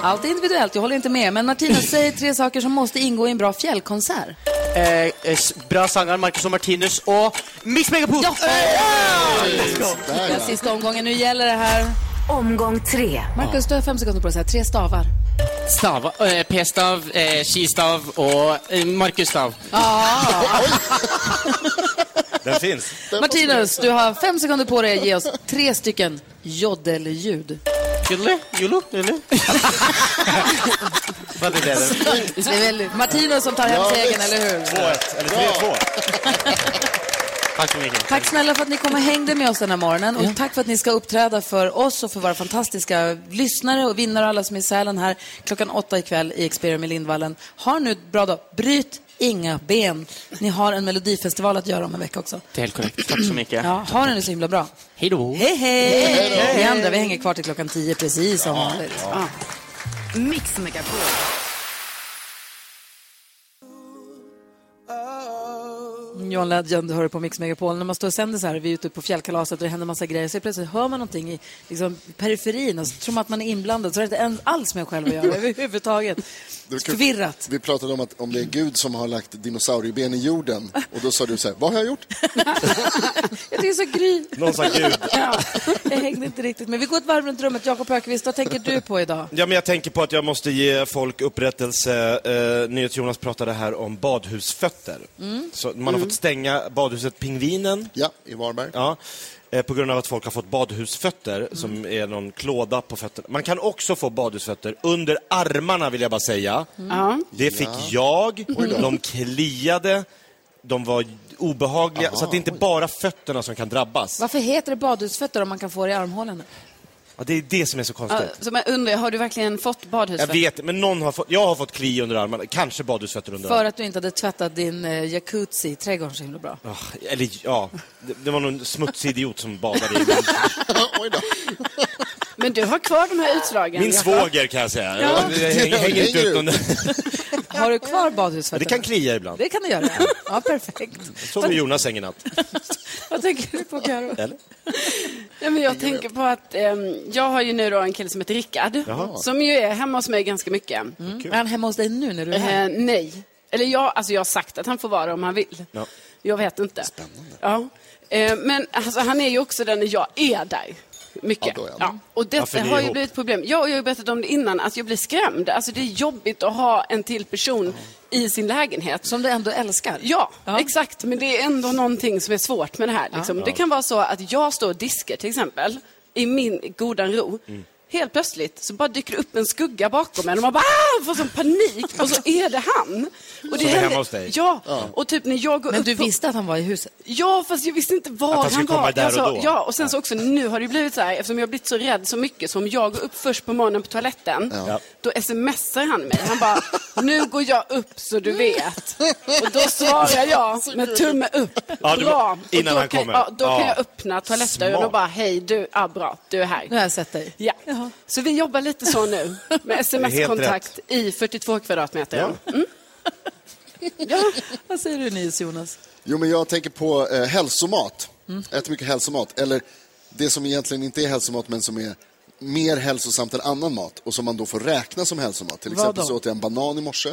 S3: Allt är individuellt, jag håller inte med. Men Martinus, säg tre saker som måste ingå i en bra fjällkonsert.
S21: Eh, eh, s- bra sångare Marcus och Martinus och Mix Megapol! Ja!
S3: Den sista omgången, nu gäller det här. Omgång tre. Marcus, du har fem sekunder på dig att säga tre stavar.
S20: Stav, eh, P-stav, eh, Ki-stav och eh, Marcus-stav.
S12: Den finns.
S3: Martinus, du har fem sekunder på dig att ge oss tre stycken joddelljud.
S21: Jodelu, jolo, jolo.
S12: Vad är det?
S3: Det är väl Martinus som tar hem
S12: Ja,
S3: segern,
S12: visst.
S3: eller hur?
S12: 2-1, eller 3-2.
S21: Tack så mycket.
S3: Tack snälla för att ni kom och hängde med oss den här morgonen och tack för att ni ska uppträda för oss och för våra fantastiska lyssnare och vinnare och alla som är i Sälen här klockan åtta ikväll i Experium i Lindvallen. Ha nu ett bra dag. Bryt inga ben. Ni har en melodifestival att göra om en vecka också.
S20: Det är helt korrekt. Tack så mycket.
S3: Ja, ha det nu så himla bra.
S20: Hej då.
S3: Hej, hej!
S2: Hej då.
S3: Vi andra, vi hänger kvar till klockan tio precis som vanligt.
S2: Ja. Mix Megapol.
S3: John Legend du hör på Mix Megapol. När man står och sänder så här, vi är ute på fjällkalaset och det händer massa grejer, så plötsligt hör man någonting i liksom, periferin och så tror man att man är inblandad, så har det inte ens alls med en själv att göra överhuvudtaget.
S5: Det var kul.
S3: Förvirrat.
S5: Vi pratade om att om det är Gud som har lagt dinosaurieben i jorden och då sa du så här, vad har jag gjort?
S3: Jag tycker det är så gry.
S5: Någon sa Gud.
S3: ja, jag hängde inte riktigt med. Vi går ett varv runt rummet. Jakob Ökvist, vad tänker du på idag?
S12: Ja, men jag tänker på att jag måste ge folk upprättelse. Eh, NyhetsJonas pratade här om badhusfötter.
S3: Mm.
S12: Så man har fått stänga badhuset Pingvinen.
S5: Ja, i Varberg.
S12: Ja, eh, på grund av att folk har fått badhusfötter,
S7: Mm.
S12: som är någon klåda på fötterna. Man kan också få badhusfötter under armarna, vill jag bara säga.
S7: Mm. Ja.
S12: Det fick
S7: Ja.
S12: jag.
S7: Oj då.
S12: De kliade, de var obehagliga.
S3: Aha,
S12: så att det är inte bara fötterna som kan drabbas.
S3: Varför heter det badhusfötter om man kan få det i armhålorna?
S12: Ja, det är det som är så
S7: Ja,
S12: konstigt.
S7: så man undrar, har du verkligen fått
S12: Jag
S7: badhusfötter?
S12: vet, men någon har fått, jag har fått kli under armarna, kanske badhusfötter under
S3: För
S12: armarna.
S3: att du inte hade tvättat din eh, jacuzzi i trädgården så himla bra.
S12: Ah, eller ja, det, det var någon smutsig idiot som badade i
S7: Men du har kvar de här utslagen?
S12: Min svåger kan jag säga.
S7: Ja.
S12: Jag, jag hänger, hänger inte upp någon...
S3: Har du kvar
S12: Men det
S3: badhusfötterna?
S12: kan klia ibland.
S3: Det kan du göra. Ja, perfekt.
S12: Sov med Jonas en natt.
S7: Vad tänker du på Karo?
S12: Eller?
S7: Nej, men jag tänker på att ehm, jag har ju nu då en kille som heter Rickard.
S3: Jaha.
S7: Som ju är hemma hos mig ganska mycket.
S12: Mm.
S3: Är han hemma hos dig nu när du är här?
S7: Eh, nej. Eller jag, alltså jag har sagt att han får vara om han vill.
S3: Ja.
S7: Jag vet inte. Spännande. Ja. Eh, men alltså, han är ju också den när jag är där. Mycket.
S8: Ja, då är han.
S7: Och
S8: Ja, för
S7: detta
S8: ni är
S7: har ju
S8: ihop.
S7: blivit ett problem. Jag, jag har ju berättat om det innan, att jag blir skrämd. Alltså det är jobbigt att ha en till person i sin lägenhet.
S3: Som du ändå älskar?
S7: Ja, exakt. Men det är ändå någonting som är svårt med det här. Liksom.
S8: Ja.
S7: Det kan vara så att jag står och diskar till exempel, i min goda ro.
S20: Mm.
S7: Helt plötsligt så bara dyker det upp en skugga bakom en och man bara ah! får sån panik och så är det han. Och
S3: Som är
S7: händer-
S3: hemma hos dig?
S7: Ja,
S3: Ja.
S7: och typ när jag går
S3: Men
S7: upp
S3: du visste att han var i huset?
S7: Ja, fast jag visste inte var
S3: Att han
S7: han,
S3: skulle komma
S7: var.
S3: där
S7: Jag sa-
S3: och då?
S7: Ja, och sen så också nu har det blivit så här, eftersom jag har blivit så rädd så mycket, så om jag går upp först på morgonen på toaletten,
S8: Ja.
S7: då smsar han mig. Han bara, nu går jag upp så du vet. Och då svarar jag med tumme upp,
S8: Ja, du-
S7: bra. Och
S8: innan
S7: då
S8: han
S7: kan,
S8: kommer.
S7: Ja, då kan
S8: Ja.
S7: jag öppna toalettdörren
S8: Smart.
S7: och bara, hej du, ja, bra, du är här.
S3: Nu har jag sett dig.
S7: Ja. Så vi jobbar lite så nu, med sms-kontakt i 42 kvadratmeter. Mm.
S3: Vad säger du Nils, Jonas?
S5: Jo, men jag tänker på eh, hälsomat. Äter mycket hälsomat. Eller det som egentligen inte är hälsomat, men som är mer hälsosamt än annan mat och som man då får räkna som hälsomat. Till
S3: Vad
S5: exempel
S3: då? Mm.
S5: så åt jag en banan i morse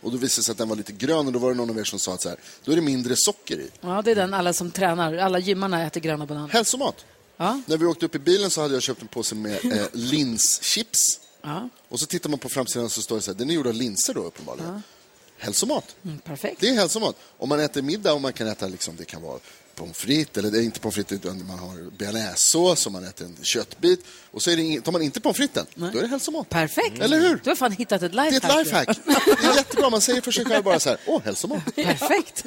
S5: och då visade det sig att den var lite grön och då var det någon av er som sa att så här, då är det mindre socker i.
S3: Ja, det är den alla som tränar, alla gymmarna äter gröna bananer.
S5: Hälsomat.
S3: Ja.
S5: När vi åkte upp i bilen så hade jag köpt en påse med eh, linschips.
S3: Ja.
S5: Och så tittar man på framsidan så står det så här, den är gjord av linser då uppenbarligen.
S3: Ja.
S5: Hälsomat.
S3: Mm, perfekt.
S5: Det är hälsomat. Om man äter middag och man kan äta, liksom, det kan vara pommes frites, eller det är inte pommes frites, utan man har bearnaisesås och man äter en köttbit. Och så är det, ing- tar man inte pommes fritesen, då är det hälsomat. Mm.
S3: Perfekt. Mm.
S5: Eller hur?
S3: Du har fan hittat ett lifehack.
S5: Det är ett lifehack. Det är jättebra, man säger för sig själv bara så här, åh, hälsomat.
S3: Perfekt.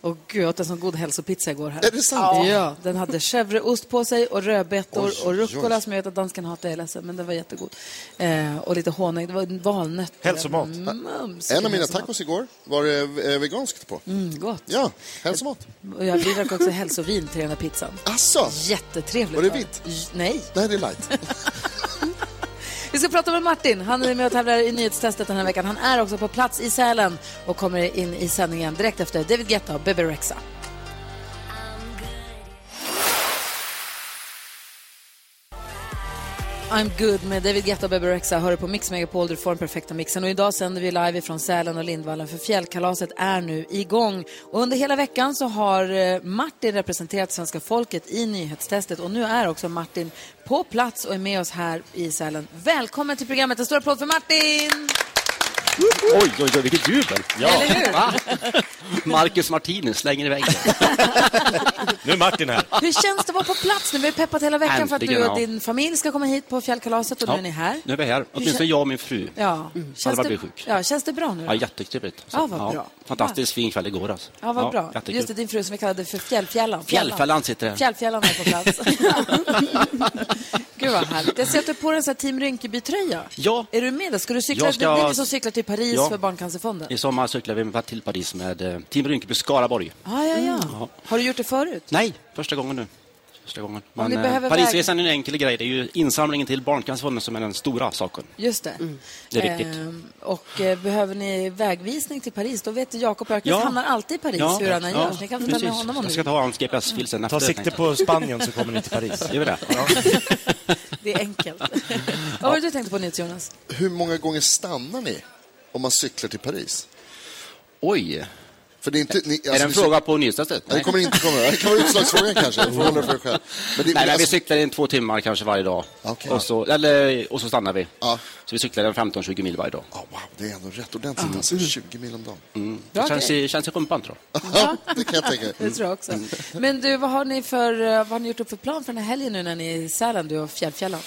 S3: Och gud, jag åt en sån god hälsopizza igår här.
S5: Är det sant?
S3: Ja.
S5: Ja.
S3: den hade chèvreost på sig och rödbetor
S5: Oj,
S3: och
S5: oj,
S3: rucola
S5: oj.
S3: som jag vet att dansken hatar, jag är ledsen, men den var jättegod. Eh, och lite honung, det var en valnöt.
S5: Hälsomat.
S3: Mm,
S5: Mm,
S3: Mums,
S5: En av mina
S3: hälsomat.
S5: tacos igår var eh, veganskt på.
S3: Mm, gott.
S5: Ja, hälsomat.
S3: Och jag vi drack också hälsovin till den här pizzan.
S5: Asså?
S3: Jättetrevligt.
S5: Var det
S3: va?
S5: vitt?
S3: Nej.
S5: Nej, det är light.
S3: Vi ska prata med Martin. Han är med och tävlar i nyhetstestet den här veckan. Han är också på plats i Sälen och kommer in i sändningen direkt efter David Guetta och Bebe Rexha. I'm good med David Guetta och Bebe Rexha. Hör du på Mix Megapol, du får den perfekta mixen. Och idag sänder vi live ifrån Sälen och Lindvallen för fjällkalaset är nu igång. Och under hela veckan så har eh, Martin representerat svenska folket i nyhetstestet och nu är också Martin på plats och är med oss här i Sälen. Välkommen till programmet. En stor applåd för Martin!
S24: Oj, oj, oj, vilket jubel!
S3: Eller hur?
S24: Va? Marcus Martinus slänger iväg den.
S12: Nu är Martin här.
S3: Hur känns det att vara på plats nu? Vi har peppat hela veckan för att
S24: Äntligen,
S3: du och
S24: ja.
S3: din familj ska komma hit på fjällkalaset och nu är ni här.
S24: Nu är vi här. Åtminstone jag och min fru.
S3: Ja.
S24: Alva Mm.
S3: det,
S24: blir sjuk.
S3: ja, känns det bra nu?
S24: Ja,
S3: då?
S24: jättetrevligt.
S3: Ja, vad bra.
S24: Fantastiskt fin kväll igår. Alltså.
S3: Ja, vad bra.
S24: jättekul.
S3: Just det, din fru som vi kallade för Fjällfjällan.
S24: Fjällfjällan sitter här.
S3: Fjällfjällan är på plats. Gud vad härligt. Jag ser att du har på dig en sån här Team Rinkeby-tröja.
S24: Ja.
S3: Är du med där? Ska du cykla?
S24: Jag ska-
S3: Det är ni som cyklar till Paris
S24: Ja.
S3: för Barncancerfonden.
S24: I sommar cyklar vi till Paris med eh, Team Rinkeby Skaraborg.
S3: Ah, ja,
S24: Mm.
S3: ja. Har du gjort det förut?
S24: Nej, första gången nu. Första gången. Men,
S3: ni
S24: eh,
S3: behöver
S24: Parisresan är en enkel grej. Det är ju insamlingen till Barncancerfonden som är den stora saken.
S3: Just det.
S24: Mm. Det är riktigt.
S3: Ehm, och eh, behöver ni vägvisning till Paris, då vet Jakob Öqvist,
S24: Ja.
S3: hamnar alltid i Paris hur han än gör. Så ni kan få ta med
S24: precis.
S3: honom om ni
S24: Jag
S3: vill.
S24: ska ta hans GPS-fil sen
S12: Ta
S24: efter,
S12: sikte
S24: tänkte
S12: på
S24: jag.
S12: Spanien så kommer ni till Paris.
S24: Gör vi det?
S3: Det är enkelt. Vad var det du tänkte på nytt, Jonas?
S5: Hur många gånger stannar ni om man cyklar till Paris?
S24: Oj.
S5: För det är inte... Ni, alltså,
S24: är det en
S5: ni-
S24: fråga på nyhetsnätet?
S5: Nej, det kommer inte komma. Det kan vara utslagsfrågan kanske. Du får hålla det för dig själv. Men det,
S24: nej, nej,
S5: alltså-
S24: vi cyklar in två timmar kanske varje dag.
S5: Okej.
S24: Och, så, eller, och så stannar vi. Så vi cyklar en 15-20 mil varje dag.
S5: Wow, det är ändå rätt ordentligt. Alltså, 20 mil om dagen.
S24: Mm. Det
S3: Ja,
S24: känns,
S3: okej.
S24: i, känns i rumpan, tror jag. Mm.
S5: det kan jag tänka.
S3: Det tror jag också. Men du, vad har ni för, eh, vad har ni gjort upp för plan för den här helgen nu när ni är i Sälen, du och Fjällfjällan?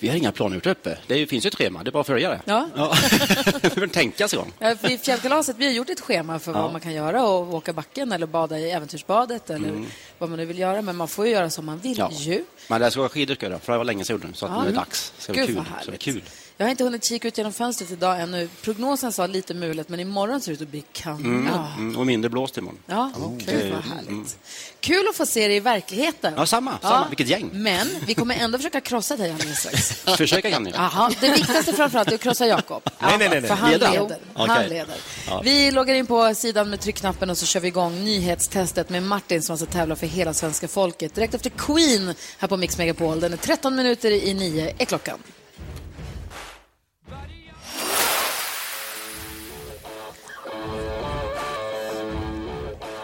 S24: Vi har inga planer ute uppe. Det är ju- finns ju ett schema, det är bara att följa det.
S3: Ja.
S24: Vi behöver inte tänka oss igång.
S3: Ja, för I Fjällkalaset, vi har gjort ett schema för
S24: Ja.
S3: vad man kan göra och åka backen eller bada i äventyrsbadet eller
S24: Mm.
S3: vad man nu vill göra. Men man får ju göra som man vill ju.
S24: Men det ska vara skidor ska jag göra, för det var länge sedan jag gjorde det. Så att
S3: Ja,
S24: nu är
S3: men-
S24: det dags. Det ska vara
S3: Gud,
S24: kul.
S3: vad
S24: Det ska vara
S3: härligt.
S24: kul.
S3: Jag har inte hunnit kika ut genom fönstret idag ännu. Prognosen sa lite mulet, men imorgon ser det ut att bli kanon.
S24: Mm.
S3: Ja.
S24: Mm. Och mindre blåst imorgon. Mm.
S3: Ja, gud vad härligt. Kul att få se dig i verkligheten.
S24: Ja, samma, samma. Vilket gäng.
S3: Men vi kommer ändå försöka krossa dig alldeles strax.
S24: Försöka Janni.
S3: Jaha, det viktigaste framförallt är att krossa Jakob.
S24: Nej, nej, nej, nej.
S3: För han
S24: Leda.
S3: leder. Han
S24: Okej.
S3: leder.
S24: Ja.
S3: Vi loggar in på sidan med tryckknappen och så kör vi igång nyhetstestet med Martin som alltså tävlar för hela svenska folket. Direkt efter Queen här på Mix Megapol. Den är 13 minuter i 9 är klockan.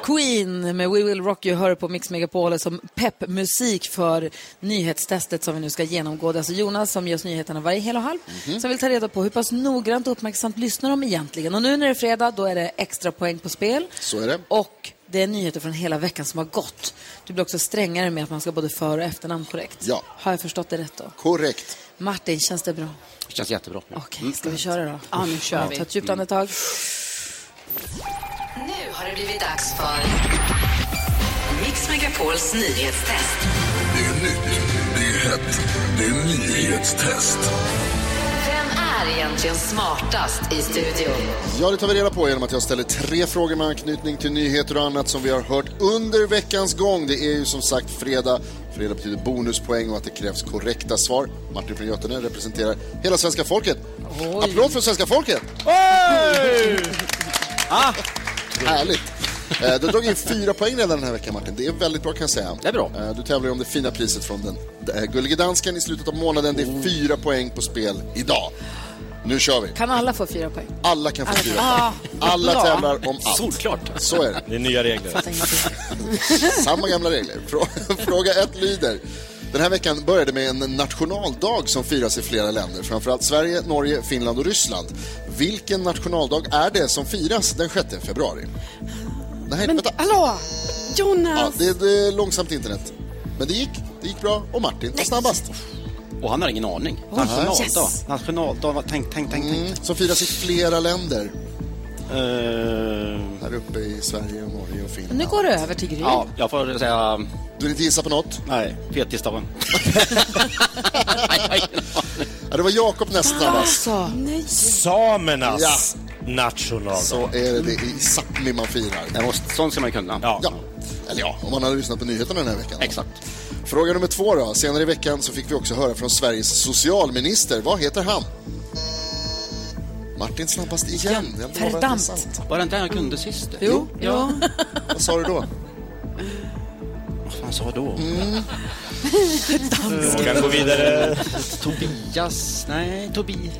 S3: Queen med We Will Rock You hör på Mix Megapol som peppmusik för nyhetstestet som vi nu ska genomgå. Det är alltså Jonas som ger oss nyheterna varje hel och halv
S5: Mhm.
S3: som vill ta reda på hur pass noggrant och uppmärksamt lyssnar de egentligen. Och nu när det är fredag då är det extra poäng på spel.
S5: Så är det.
S3: Och det är nyheter från hela veckan som har gått. Du blir också strängare med att man ska både för och efternamn korrekt.
S5: Ja.
S3: Har jag förstått det rätt då?
S5: Korrekt.
S3: Martin, känns det bra?
S24: Det känns jättebra.
S3: Okej,
S23: Mm.
S3: ska vi köra då?
S8: Ja, nu kör vi.
S3: Ta ett djupt andetag.
S2: Nu har det blivit dags för Mix Megapols nyhetstest.
S1: Det är nytt, det är hett, det är nyhetstest.
S2: Vem är egentligen smartast i studion?
S5: Ja, det tar vi reda på genom att jag ställer tre frågor med anknytning till nyheter och annat som vi har hört under veckans gång. Det är ju som sagt fredag. Fredag betyder bonuspoäng och att det krävs korrekta svar. Martin från Götene representerar hela svenska folket. Applåd för svenska folket!
S24: Ah.
S5: Härligt! Eh, Du har dragit in fyra poäng redan den här veckan, Martin. Det är väldigt bra kan jag säga. Det är bra. Du tävlar ju om det fina priset från den eh, Gullige Dansken i slutet av månaden. Det är fyra poäng på spel idag. Nu kör vi!
S3: Kan alla få fyra poäng?
S5: Alla kan få
S3: Alla
S5: fyra
S3: kan-
S5: poäng.
S3: Ah,
S5: Alla
S3: bra.
S5: tävlar om allt.
S24: Solklart.
S5: Så är det.
S12: Det är nya regler.
S5: Samma gamla regler. Frå- Fråga ett lyder. Den här veckan började med en nationaldag som firas i flera länder, framförallt Sverige, Norge, Finland och Ryssland. Vilken nationaldag är det som firas den 6 februari? Nej, vänta.
S7: Hallå!
S5: Ja,
S7: Jonas!
S5: det, är- det är långsamt internet. Men det gick, det gick bra och Martin var snabbast.
S24: Och han har ingen aning.
S5: Oj,
S24: Nationaldag.
S5: yes.
S24: Nationaldag. vad- Tänk, tänk, tänk. tänk.
S5: Som firas i flera länder. Här uppe i Sverige, och Norge och Finland.
S3: Nu går det över till Gry.
S24: Ja, jag får säga...
S5: Du vill inte gissa på något?
S24: Nej, fettisdagen.
S5: Ja, det var Jakob näst snabbast.
S3: Nej.
S12: Samernas
S5: Ja.
S12: nationaldag.
S5: Så är det, det är i Sápmi man firar.
S24: Det måste, sånt ska man kunna.
S12: Ja.
S5: Eller ja, om man hade lyssnat på nyheterna den här veckan. Exakt. Fråga nummer två då. Senare i veckan så fick vi också höra från Sveriges socialminister. Vad heter han? Martin snabbast igen. Jag lovar att det är
S24: Verdammt.
S5: sant.
S24: Var det inte det jag kunde sist?
S5: Jo.
S24: Ja.
S5: Vad sa du då? Mm.
S24: Vad fan sa jag då?
S12: Frågan går vidare.
S24: Tobias... Nej, Tobi.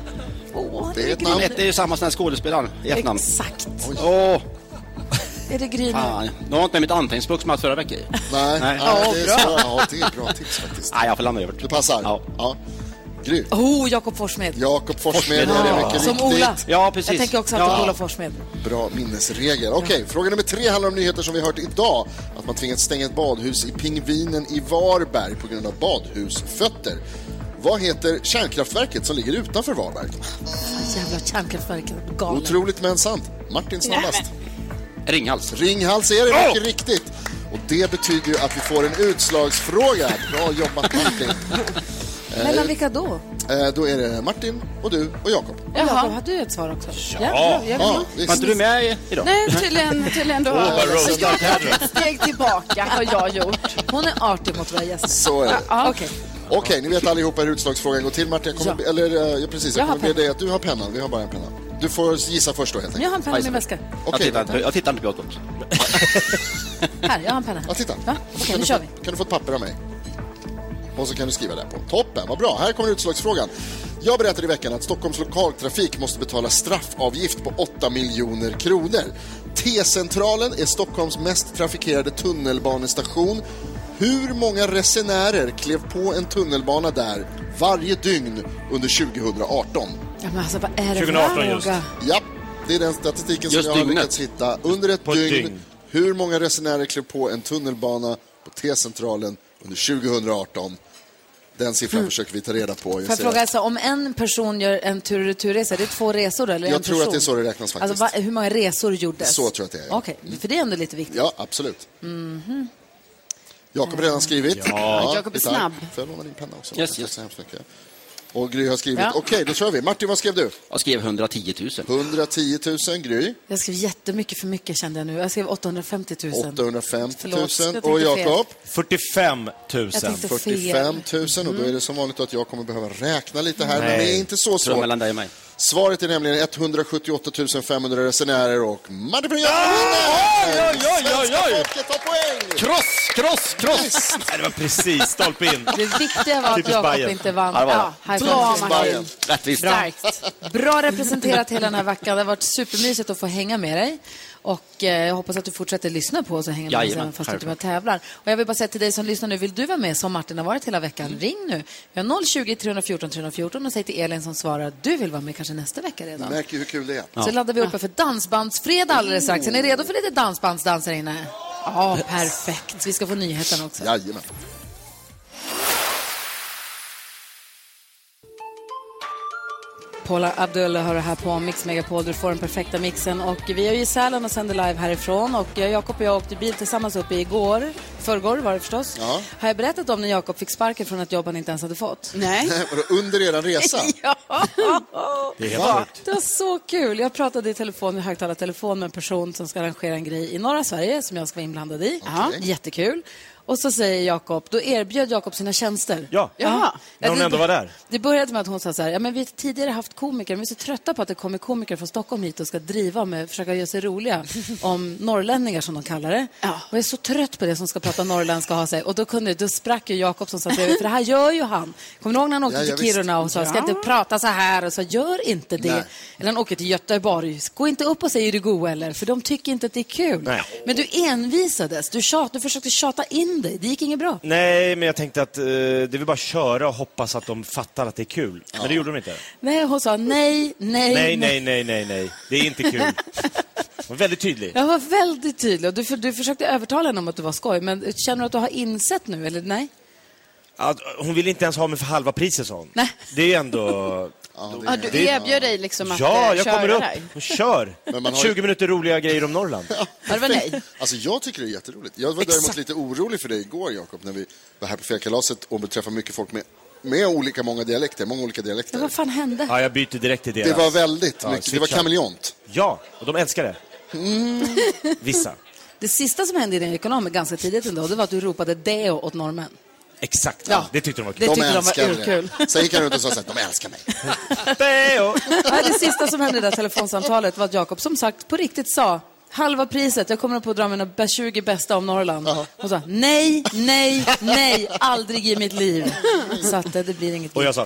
S5: det är ett
S24: namn. Det är ju samma som den här skådespelaren i efternamn.
S3: Exakt.
S24: Åh,
S3: Är det Gry nu?
S24: fan. Nu har jag inte med mitt anteckningsblock som jag hade förra veckan i.
S5: Nej,
S24: Nej.
S5: Ja, det är
S24: bra.
S5: bra. Ja, det är bra tips faktiskt.
S24: Nej, jag får lämna över. Det
S5: passar?
S24: Ja.
S5: ja. Gry?
S3: Oh, Jakob Forssmed.
S5: Jakob Forssmed är det mycket
S3: Som Ola.
S5: riktigt.
S3: Jag tänker också alltid på Ola Forssmed.
S5: Bra minnesregel. Okej, fråga nummer tre handlar om nyheter som vi hört idag. Att man tvingats stänga ett badhus i Pingvinen i Varberg på grund av badhusfötter. Vad heter kärnkraftverket som ligger utanför Varberg?
S3: Jävla kärnkraftverket. Galen.
S5: Otroligt men sant. Martin snabbast.
S24: Ringhals.
S5: Ringhals är det mycket riktigt. Och det betyder ju att vi får en utslagsfråga. Bra jobbat Martin.
S3: Mellan vilka då?
S5: Eh, Då är det Martin och du och Jakob.
S3: Jakob, har du ett svar också?
S5: Ja.
S3: jag
S5: Ja,
S3: vill.
S5: visst. Var inte du med
S24: i- idag?
S7: Nej, tydligen, tydligen då.
S5: Åh, vad roastat
S7: jag har
S5: här.
S7: tagit ett steg tillbaka har jag gjort.
S3: Hon är artig mot våra gäster.
S5: Så är det.
S3: Ja, okej.
S5: Okej, ni vet allihopa hur utslagsfrågan går till. Martin, jag kommer, be- eller, eh, ja, precis, jag
S3: Jag har
S5: kommer be dig att du har pennan. Vi har bara en penna. Du får gissa först då, helt enkelt.
S3: Men jag har en penna i min väska.
S5: Okej,
S24: jag, tittar,
S5: vänta.
S24: inte- jag tittar inte på Jakob.
S3: Här, jag har en penna.
S5: Ja, titta.
S3: Va? Okej,
S5: kan,
S3: nu
S5: du
S3: kör
S5: få,
S3: vi.
S5: kan du få ett papper av mig? Och så kan du skriva där på. Toppen, vad bra. Här kommer utslagsfrågan. Jag berättade i veckan att Stockholms lokaltrafik måste betala straffavgift på 8 miljoner kronor. T-centralen är Stockholms mest trafikerade tunnelbanestation. Hur många resenärer klev på en tunnelbana där varje dygn under 2018?
S3: Ja, men alltså, vad är det
S5: 2018
S3: för
S5: just.
S3: fråga?
S5: Ja, det är den statistiken
S3: Just
S5: som jag har
S3: dygnet.
S5: lyckats hitta. Under ett
S3: På ett
S5: dygn,
S3: dygn.
S5: hur många resenärer klev på en tunnelbana på T-centralen under 2018? Den siffran försöker vi ta reda på.
S3: Mm. Får jag
S5: ser
S3: fråga,
S5: att-
S3: alltså, om en person gör en tur och returresa, det är två resor då, eller en
S5: jag tror
S3: person?
S5: att det är så det räknas faktiskt.
S3: Alltså, va, hur många resor gjordes?
S5: Så tror jag att det är, ja.
S3: Okej, för det är ändå lite viktigt.
S5: Ja, absolut.
S3: Mhm.
S5: Jakob har redan skrivit.
S3: Mm. Ja, Jakob är
S5: titta.
S3: snabb.
S5: Får jag låna din penna också?
S24: Yes,
S5: Tack så hemskt mycket. Och Gry har skrivit.
S3: Ja.
S5: Okej, då kör vi. Martin, vad skrev du?
S24: Jag skrev 110 000.
S5: 110 000, Gry.
S3: Jag skrev jättemycket för mycket kände jag nu. Jag skrev 850 000.
S5: 850 000.
S3: Förlåt, jag tänkte
S5: och
S3: fel.
S5: Jakob?
S23: 45 000.
S3: Jag tänkte fel.
S5: 45 000. Och då är det som vanligt att jag kommer behöva räkna lite här, men det är inte så
S24: Tror jag
S5: svårt.
S24: mellan dig och mig.
S5: Svaret är nämligen 178 500 resenärer och Madde Brynjar
S23: vinner!
S5: Svenska folket tar poäng!
S23: Kross, kross, kross! Nej, det var precis stolpe in.
S3: Det viktiga var att
S23: Typiskt
S3: Jakob
S23: Bayern.
S3: inte vann.
S23: Ja, det var det.
S3: Ja, här
S23: Typiskt
S3: kommer Martin.
S23: Bayern. Rättvist.
S3: Starkt. Bra representerat hela den här veckan. Det har varit supermysigt att få hänga med dig. Och eh, jag hoppas att du fortsätter lyssna på oss och hänga med oss
S9: Jajamän,
S3: även fast du inte är med och
S9: självklart.
S3: tävlar. Och jag vill bara säga till dig som lyssnar nu, vill du vara med som Martin har varit hela veckan,
S23: Mm.
S3: ring nu. Vi har 020 314 314 och säg till Elin som svarar att du vill vara med kanske nästa vecka redan.
S5: Märker ju hur kul det är.
S3: Så laddar vi uppe för dansbandsfredag alldeles strax. Är ni redo för lite dansbandsdans här inne? Ja, perfekt. Vi ska få nyheterna också.
S5: Jajamän.
S3: Paula Abdul har det här på Mix Megapol. Du får den perfekta mixen. Och vi är ju i Sälen och sänder live härifrån. Och jag, Jakob och jag åkte bil tillsammans upp igår. Förrgår var det förstås.
S5: Ja.
S3: Har jag berättat om när Jakob fick sparken från ett jobb han inte ens hade fått? Nej.
S5: Vadå, Under er resa?
S3: ja.
S5: Det är helt Va? sjukt.
S3: Det var så kul. Jag pratade i telefon, i högtalartelefon med en person som ska arrangera en grej i norra Sverige som jag ska vara inblandad i. Jättekul. Och så säger Jakob, då erbjöd Jakob sina tjänster.
S23: Ja, när hon
S3: det-
S23: ändå var där.
S3: Det började med att hon sa så här, ja men vi har tidigare haft komiker, men vi är så trötta på att det kommer komiker från Stockholm hit och ska driva med, försöka göra sig roliga om norrlänningar som de kallar det. Och jag är så trött på det som ska prata norrländska och ha sig. Och då, kunde, då sprack ju Jakob som satt bredvid, för det här gör ju han. Kommer du ihåg när han åkte
S9: Ja, ja,
S3: till Kiruna och
S9: visst.
S3: sa, ska
S9: Ja.
S3: inte prata så här? Och sa, gör inte det.
S9: Nej.
S3: Eller han åker till Göteborg, gå inte upp och säg är du god eller, för de tycker inte att det är kul.
S23: Nej.
S3: Men du envisades, du, tjat, du försökte tjata in dig, det gick inget bra.
S23: Nej, men jag tänkte att eh, det är väl bara att köra och hoppas att de fattar att det är kul. Men det gjorde de inte.
S3: Nej, hon sa nej, nej,
S23: Nej, nej, nej, nej, nej. Det är inte kul. De var väldigt tydlig.
S3: Jag var väldigt tydlig och du, för, du försökte övertala henne om att det var skoj, men känner du att du har insett nu eller nej?
S23: Att eh, hon ville inte ens ha mig för halva priset, sa hon. Nej. Det är ju ändå...
S7: Ja, du erbjöd dig liksom att
S23: Ja,
S7: eh,
S23: jag
S7: köra
S23: kommer upp
S7: där.
S23: och kör.
S5: Men man har ju-
S23: 20 minuter roliga grejer om Norrland.
S7: Ja, det var nej.
S5: Alltså jag tycker det är jätteroligt. Jag var däremot lite orolig för dig igår, Jakob, när vi var här på Fjällkalaset och träffade mycket folk med, med olika många dialekter, många olika dialekter.
S3: Vad fan hände?
S23: Ja, jag byter direkt till deras.
S5: Det var väldigt mycket. Det var
S23: switchar.
S5: kameleont.
S23: Ja, och de älskar det. Vissa.
S3: Mm. Det sista som hände i din ekonom ganska tidigt ändå, det var att du ropade deo åt norrmän.
S23: Exakt.
S3: Ja.
S23: Det tyckte de var kul.
S3: Det tyckte de var älskar det. urkul.
S5: Sen gick han runt och sa så här, de älskar mig.
S23: Deo!
S3: Ja, det sista som hände i det där telefonsamtalet var att Jakob som sagt på riktigt sa halva priset, jag kommer upp och dra mina bä- 20 bästa om Norrland. Hon sa nej, nej, nej, aldrig i mitt liv. Så att eh, det blir inget
S23: Och jag sa...